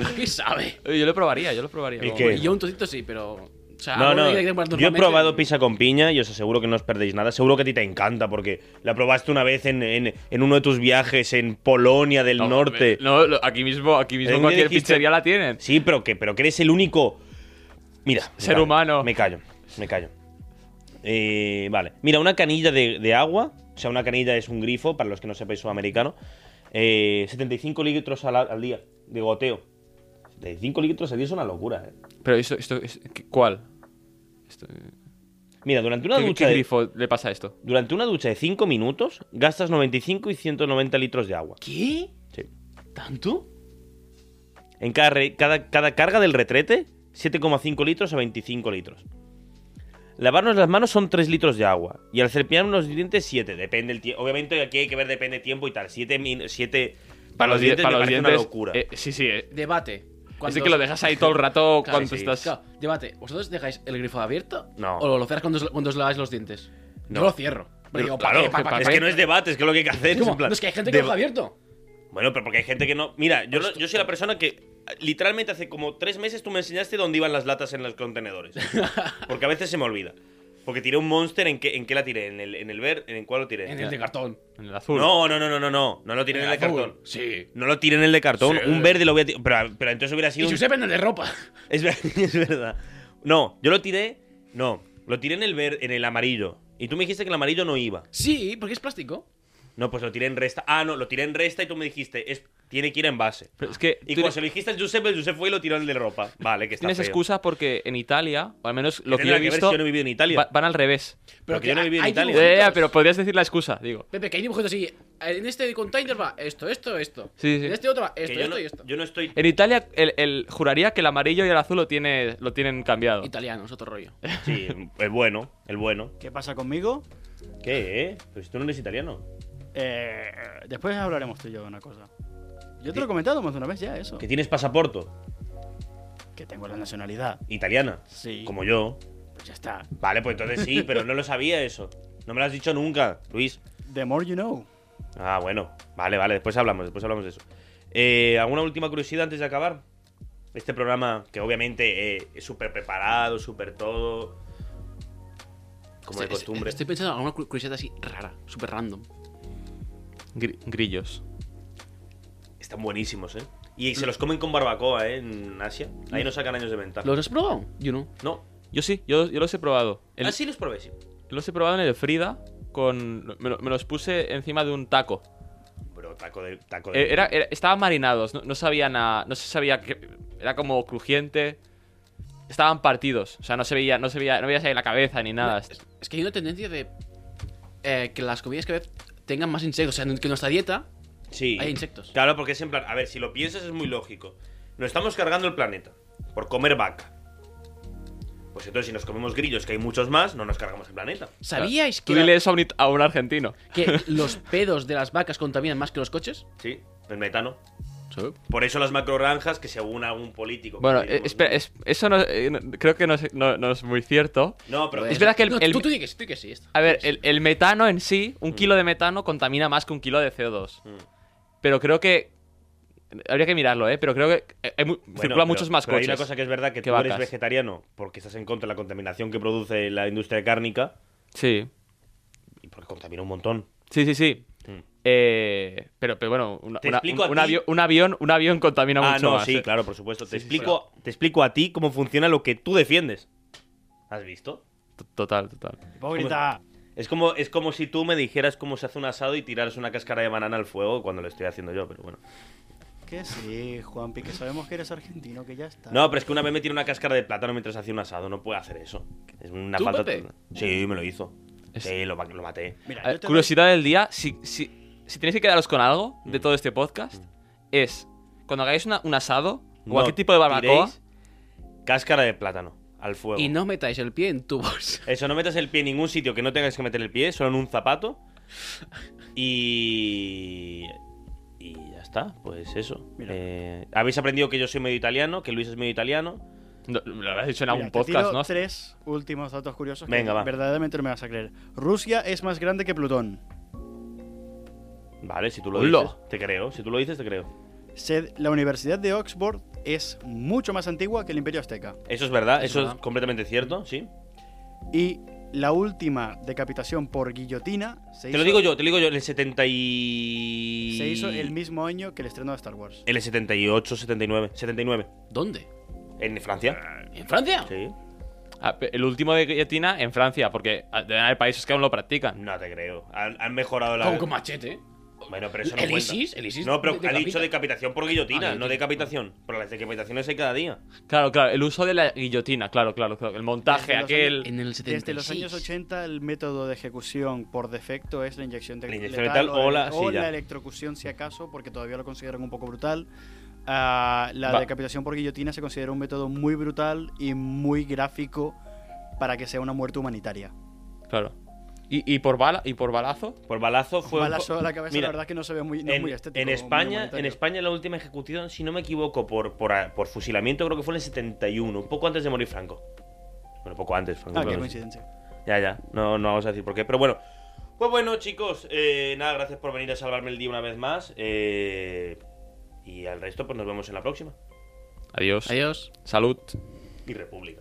D: ¿A qué sabe?
C: Eh, Yo lo probaría, yo lo probaría.
B: ¿Y
C: Como-
B: qué?
D: Y yo un trocito sí, pero... O sea,
B: No,
D: algo
B: no.
D: que- que- que-
B: Yo he probado
D: normalmente-
B: pizza con piña y os aseguro que no os perdéis nada. Seguro que a ti te encanta porque la probaste una vez en, en- en uno de tus viajes en Polonia del
C: No,
B: Norte.
C: me- No, lo- aquí mismo, aquí mismo
B: ¿En
C: cualquier
B: qué dijiste?
C: pizzería la tienen.
B: Sí, pero que, pero que eres el único. Mira. me
C: Ser
B: callo,
C: humano.
B: Me callo, me callo. Eh, vale. Mira, una canilla de, de agua. O sea, una canilla es un grifo, para los que no sepáis sudamericano. Eh, 75 litros al, al día de goteo. 75 litros al día es una locura, eh.
C: Pero esto, esto, es- ¿qué- ¿cuál? Esto-
B: Mira, durante una
C: ¿Qué, qué
B: ducha. de-
C: grifo le pasa a esto?
B: Durante una ducha de 5 minutos gastas 95 y 190 litros de agua.
D: ¿Qué?
B: Sí.
D: ¿Tanto?
B: En cada, re- cada, cada carga del retrete, 7,5 litros a 25 litros. Lavarnos las manos son 3 litros de agua. Y al cepillar unos dientes, 7. Depende el tiempo. Obviamente aquí hay que ver, depende el tiempo y tal. 7, para los
C: di-
B: dientes me
C: los
B: parece
C: dientes,
B: una locura.
C: eh, sí, sí. eh.
D: Debate.
C: Así que lo dejas ahí todo el rato
D: Claro,
C: cuando
B: sí.
C: estás.
D: Claro, debate. ¿Vosotros dejáis el grifo abierto?
B: No.
D: ¿O lo cerráis cuando os, cuando os laváis los dientes?
B: No.
D: Yo lo cierro. Pero eh, digo, ¿para
B: claro,
D: qué? ¿Para- para
B: es
D: qué?
B: que no es debate, es que lo que hay que hacer
D: Es
B: es.
D: como,
B: en plan,
D: no, es que hay gente que
B: deba-
D: lo ha abierto.
B: Bueno, pero porque hay gente que no. Mira, yo, lo- yo soy la persona que eh, literalmente hace como tres meses tú me enseñaste dónde iban las latas en los contenedores. Porque a veces se me olvida. Porque tiré un monster en qué, en qué la tiré, en el, en el ver, en cuál lo tiré.
D: En el de cartón.
C: En el azul.
B: no, no, no, no, no, no. No lo tiré en el de
D: azul.
B: cartón.
D: Sí.
B: No lo tiré en el de cartón.
D: Sí.
B: Un verde lo voy a tirar. Pero, pero entonces hubiera
D: Y
B: sido.
D: si
B: un-
D: usted vende de ropa.
B: Es, ver- es verdad. No, yo lo tiré. No, lo tiré en el ver, en el amarillo. Y tú me dijiste que el amarillo no iba.
D: Sí, porque es plástico.
B: No, pues lo tiré en resta. Ah, no, lo tiré en resta y tú me dijiste, es, tiene que ir en base.
C: Pero es que
B: Y
C: tú
B: cuando se lo dijiste al Josep, el Josep fue y lo tiró en el de ropa. Vale, que está
C: tienes
B: feo.
C: excusa porque en Italia, o al menos lo que yo
B: tendrá
C: he
B: que ver
C: visto,
B: si yo no he vivido en Italia?
C: va- van al revés.
D: Pero
B: Porque yo no he vivido en
D: hay
B: Italia.
C: Ya, ya,
D: dibujitos.
C: ya, pero podrías decir la excusa, digo.
D: Pepe, que hay dibujitos así. En este container va esto, esto, esto.
C: Sí, sí.
D: En este otro va
B: Que
D: esto,
B: yo,
D: esto
B: no,
D: y esto.
B: yo no estoy.
C: En Italia, el, el- juraría que el amarillo y el azul lo, tiene, lo tienen cambiado.
D: Italianos, otro rollo.
B: Sí, el bueno, el bueno.
E: ¿Qué pasa conmigo?
B: ¿Qué, eh? Pues tú no eres italiano.
E: Eh, después hablaremos tú y yo de una cosa. Yo te lo he comentado más de una vez ya, eso.
B: Que tienes pasaporte
E: Que tengo la nacionalidad.
B: italiana.
E: Sí.
B: Como yo.
E: Pues ya está.
B: Vale, pues entonces sí, pero no lo sabía eso. No me lo has dicho nunca, Luis.
E: The more you know.
B: Ah, bueno. Vale, vale, después hablamos, después hablamos de eso. Eh, ¿Alguna última curiosidad antes de acabar? Este programa que obviamente eh, es súper preparado, súper todo. Como de
D: Estoy-
B: costumbre.
D: Estoy pensando en alguna cu- curiosidad así rara, súper random.
C: Gri- grillos.
B: Están buenísimos, ¿eh? Y se los comen con barbacoa, ¿eh? En Asia. Ahí no sacan años de ventaja.
D: ¿Los has probado? Yo no.
B: No.
C: Yo sí, yo, yo los he probado. El-
B: Así los probé, sí.
C: Los he probado en el Frida. Con, me, lo- me los puse encima de un taco.
B: Bro, taco de. Taco de
C: Eh, Era, era- estaban marinados, no, no sabían a- No se sabía que. Era como crujiente. Estaban partidos. O sea, no se veía, no se veía, no veías ahí la cabeza ni nada.
D: Es que hay una tendencia de eh, que las comidas que tengan más insectos. O sea, que en nuestra dieta
C: eh,
B: Sí.
D: hay insectos.
B: Claro, porque es en plan. A ver, si lo piensas es muy lógico. Nos estamos cargando el planeta por comer vaca. Pues entonces, si nos comemos grillos, que hay muchos más, no nos cargamos el planeta.
D: ¿Sabíais
C: Tú
D: que, la-
C: dile eso a un, it- a un argentino.
D: que los pedos de las vacas contaminan más que los coches?
B: Sí, el metano.
D: Sí.
B: Por eso las macroranjas, que según algún político.
C: Bueno,
B: que
C: eh, espera, es- eso no, eh, no- creo que no es, no- no es muy cierto.
B: No, pero.
C: Es verdad que el- el-
D: tú, tú di que sí, tú di que sí. Esto.
C: A ver, el, el metano en sí, un kilo de metano contamina más que un kilo de CO2.
B: Mm.
C: Pero creo que. Habría que mirarlo, ¿eh? Pero creo que eh, hay mu-
B: Bueno,
C: circulan
B: pero-
C: muchos más
B: pero
C: coches.
B: Hay una cosa que es verdad que tú
C: que vacas.
B: eres vegetariano porque estás en contra de la contaminación que produce la industria cárnica
C: Sí.
B: y porque contamina un montón.
C: Sí, sí, sí.
B: Mm.
C: Eh, pero, pero bueno, una-
B: Te
C: una-
B: explico
C: un,
B: a ti-
C: avión, un avión un avión contamina
B: ah,
C: mucho
B: no,
C: más.
B: sí,
C: eh.
B: claro, por supuesto. te,
C: Sí, sí,
B: explico, te explico a ti cómo funciona lo que tú defiendes. ¿Has visto?
C: T- Total, total. Eh,
E: Hipócrita.
B: Es como, es como si tú me dijeras cómo se hace un asado y tiraras una cáscara de banana al fuego cuando lo estoy haciendo yo, pero bueno.
E: Que sí, Juanpi, que sabemos que eres argentino, que ya está.
B: No, pero es que una vez me tiró una cáscara de plátano mientras hacía un asado, no puede hacer eso. Es una
D: ¿Tú,
B: falta.
D: Pepe?
B: Sí, me lo hizo.
C: Es-
B: Sí, lo, ma- lo maté.
E: Mira,
C: A ver,
E: yo te doy-
C: curiosidad del día, si, si, si tenéis que quedaros con algo
B: Mm.
C: de todo este podcast, es cuando hagáis una- un asado o
B: No,
C: cualquier tipo de barbacoa,
B: tiréis Cáscara de plátano al fuego.
D: Y no metáis el pie en tubos.
B: Eso, no metas el pie en ningún sitio que no tengas que meter el pie, solo en un zapato. Y. Y ya está, pues eso.
E: Mira.
B: Eh, Habéis aprendido que yo soy medio italiano, que Luis es medio italiano.
C: no, lo habrás dicho en
E: Mira,
C: algún
E: te tiro
C: podcast, ¿no?
E: tres últimos datos curiosos que
B: Venga, va.
E: verdaderamente no me vas a creer. Rusia es más grande que Plutón.
B: Vale, si tú lo
C: Hola.
B: dices, te creo. Si tú lo dices, te creo.
E: Se- La Universidad de Oxford es mucho más antigua que el Imperio Azteca.
B: Eso es verdad,
D: Es
B: eso
D: verdad.
B: es completamente cierto, sí.
E: Y la última decapitación por guillotina se,
B: Te
E: hizo,
B: lo digo yo, te lo digo yo, en el 70 y...
E: se hizo el mismo año que el estreno de Star Wars.
B: El 78, 79, 79.
D: ¿Dónde?
B: En Francia.
D: ¿En Francia?
B: Sí.
C: Ah, pe- El último de guillotina en Francia, porque ah, deben haber países que aún lo practican.
B: No te creo. Han, han mejorado la...
D: Como con machete.
B: Bueno, pero eso no
D: ¿El
B: cuenta.
D: ISIS? ¿El ISIS
B: No, pero
D: de-
B: ha
D: decapita?
B: dicho decapitación por guillotina,
D: Ah,
B: no
D: guillotina.
B: decapitación. Pero las decapitaciones hay cada día.
C: Claro, claro, el uso de la guillotina, claro, claro, claro. El montaje,
E: Desde los
C: aquel.
D: En el 76.
E: Desde los años 80 el método de ejecución por defecto es la inyección, de
B: La inyección letal o la- sí, ya.
E: electrocución si acaso, porque todavía lo consideran un poco brutal. Ah, la
C: Va.
E: decapitación por guillotina se considera un método muy brutal y muy gráfico para que sea una muerte humanitaria.
C: Claro. ¿Y, y por bala, ¿Y por balazo?
B: Por balazo fue... un
E: Balazo
B: po-
E: a la cabeza,
B: Mira,
E: la verdad que no se ve muy, no es
B: en,
E: muy estético.
B: en
E: muy
B: España, en
E: humanitario.
B: España la última ejecución, si no me equivoco, por, ah, por, por fusilamiento creo que fue en el 71, un poco antes de morir Franco. Bueno, poco antes, Franco.
E: Ah, qué
B: claro, sí.
E: coincidencia.
B: Ya, ya. No, no vamos a decir por qué. Pero bueno, Pues bueno, chicos, eh, nada, gracias por venir a salvarme el día una vez más. eh, y al resto, pues nos vemos en la próxima.
C: Adiós.
D: Adiós.
C: Salud.
B: Y República.